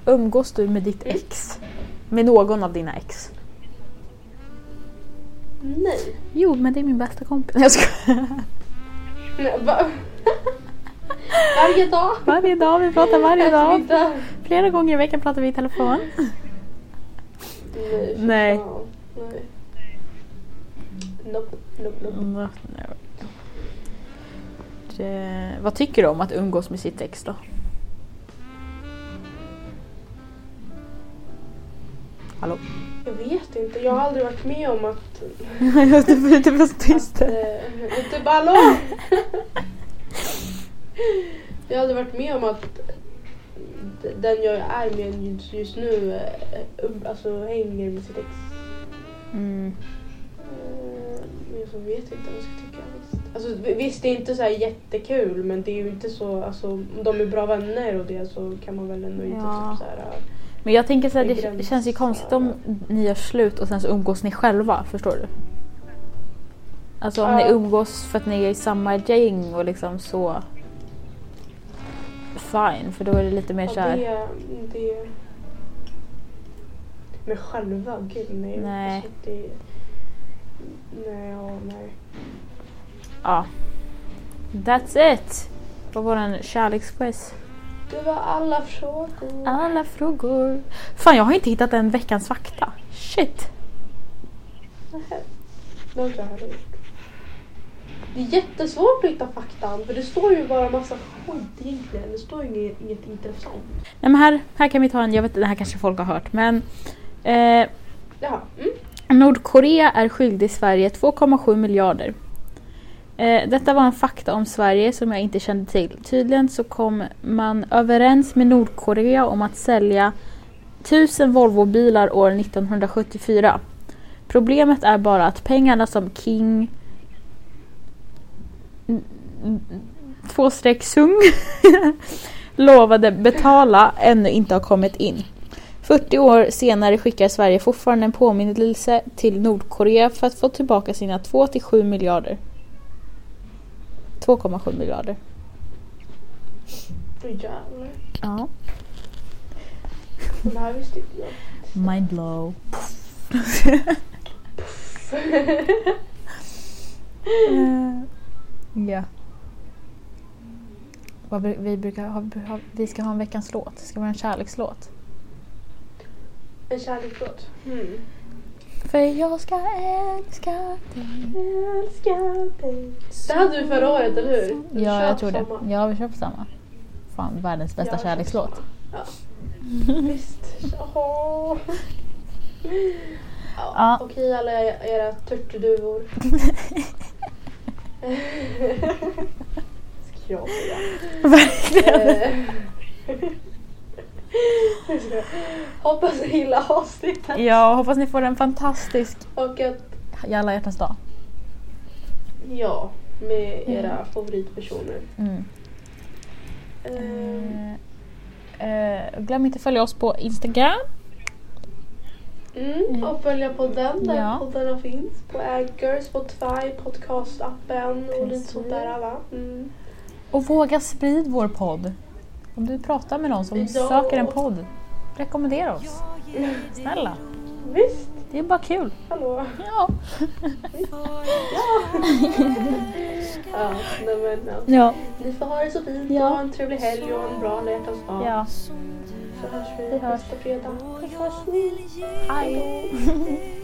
Speaker 2: Umgås du med ditt ex? Med någon av dina ex?
Speaker 3: Nej.
Speaker 2: Jo, men det är min bästa kompis. Nej, Jag skojar.
Speaker 3: Nej, va? Varje dag.
Speaker 2: Varje dag, vi pratar varje
Speaker 3: Äter
Speaker 2: dag.
Speaker 3: middag.
Speaker 2: Flera gånger i veckan pratar vi i telefon.
Speaker 3: Nej. fy
Speaker 2: Nej.
Speaker 3: fan. Nej. Nope, nope, nope.
Speaker 2: Mm, nej. Det, vad tycker du om att umgås med sitt ex då? Hallå?
Speaker 3: Jag vet inte, jag har aldrig varit med om att...
Speaker 2: det blir inte så
Speaker 3: att eh, typ hallå! jag har aldrig varit med om att d- den jag är med just- just nu eh, um- alltså, hänger med sitt ex.
Speaker 2: Mm.
Speaker 3: Eh, Men jag vet inte vad jag ska tycka. visst. Alltså, vi- visst, det är inte så här jättekul men det är ju inte så... Alltså, om de är bra vänner och det så kan man väl ändå inte
Speaker 2: Ja.
Speaker 3: typ så här... eh,
Speaker 2: Men jag tänker så här, det
Speaker 3: Begränsa.
Speaker 2: känns ju konstigt om ni gör slut och sen så umgås ni själva, förstår du? Alltså om ni
Speaker 3: Ja.
Speaker 2: umgås för att ni är i samma gäng och liksom så... Fine, för då är det lite mer
Speaker 3: Ja,
Speaker 2: så här...
Speaker 3: det, det... Men själva, gud nej.
Speaker 2: Nej.
Speaker 3: Alltså, det... Nej, ja, nej.
Speaker 2: Ja. That's it! På våran kärleksquiz.
Speaker 3: Det var alla frågor.
Speaker 2: Alla frågor. Fan, jag har inte hittat en veckans fakta. Shit!
Speaker 3: Det har inte jag heller gjort. Det är jättesvårt att hitta faktan för det står ju bara massa skit egentligen. Det står ju inget, inget intressant.
Speaker 2: Nej men här, här kan vi ta en, jag vet inte, det här kanske folk har hört men. Eh,
Speaker 3: Jaha, mm.
Speaker 2: Nordkorea är skyldig Sverige 2,7 miljarder. Eh, detta var en fakta om Sverige som jag inte kände till. Tydligen så kom man överens med Nordkorea om att sälja 1000 Volvobilar år 1974. Problemet är bara att pengarna som King... Mm, mm, Två streck Sung lovade betala ännu inte har kommit in. 40 år senare skickar Sverige fortfarande en påminnelse till Nordkorea för att få tillbaka sina 2-7 miljarder. 2,7 miljarder.
Speaker 3: Åh, jävlar.
Speaker 2: Ja.
Speaker 3: Den här visste inte jag.
Speaker 2: Mind blow. ja. Vad bru- vi, brukar ha, ha, vi ska ha en veckans låt. Det ska vara en kärlekslåt.
Speaker 3: En kärlekslåt. Mm.
Speaker 2: För jag ska älska dig.
Speaker 3: Älskar dig. Det hade du förra året, eller hur? Du
Speaker 2: Ja, jag
Speaker 3: köpte
Speaker 2: tror det.
Speaker 3: samma.
Speaker 2: Ja, vi kör på samma. Fan, världens bästa
Speaker 3: Ja,
Speaker 2: kärlekslåt.
Speaker 3: Ja. Visst. Jaha. Ja,
Speaker 2: Ja.
Speaker 3: Okej alla era turturduvor. Ska jag säga.
Speaker 2: Verkligen.
Speaker 3: Eh. Jag ska- Hoppas ni gillar avsnittet
Speaker 2: Ja, hoppas ni får en fantastisk
Speaker 3: och att
Speaker 2: alla hjärtans dag.
Speaker 3: ja, med era
Speaker 2: Mm.
Speaker 3: favoritpersoner.
Speaker 2: Mm.
Speaker 3: Ehm,
Speaker 2: Eh, glöm inte att följa oss på Instagram.
Speaker 3: Mm, och följa podden där
Speaker 2: Ja.
Speaker 3: poddarna finns. På Anchor, Spotify, podcastappen och lite
Speaker 2: Precis.
Speaker 3: sånt där va. Mm.
Speaker 2: Och våga sprid vår podd. Om du pratar med någon som
Speaker 3: Ja.
Speaker 2: söker en podd, rekommendera oss. Snälla,
Speaker 3: Mm. Visst,
Speaker 2: det är bara kul.
Speaker 3: hallå.
Speaker 2: Ja.
Speaker 3: Ja, nej men, ja.
Speaker 2: Ja.
Speaker 3: Ni får ha det så fint
Speaker 2: Ja.
Speaker 3: och ha en trevlig helg och en bra alla hjärtans dag.
Speaker 2: ja.
Speaker 3: Så hörs vi
Speaker 2: Vi hörs.
Speaker 3: nästa fredag.
Speaker 2: Hej.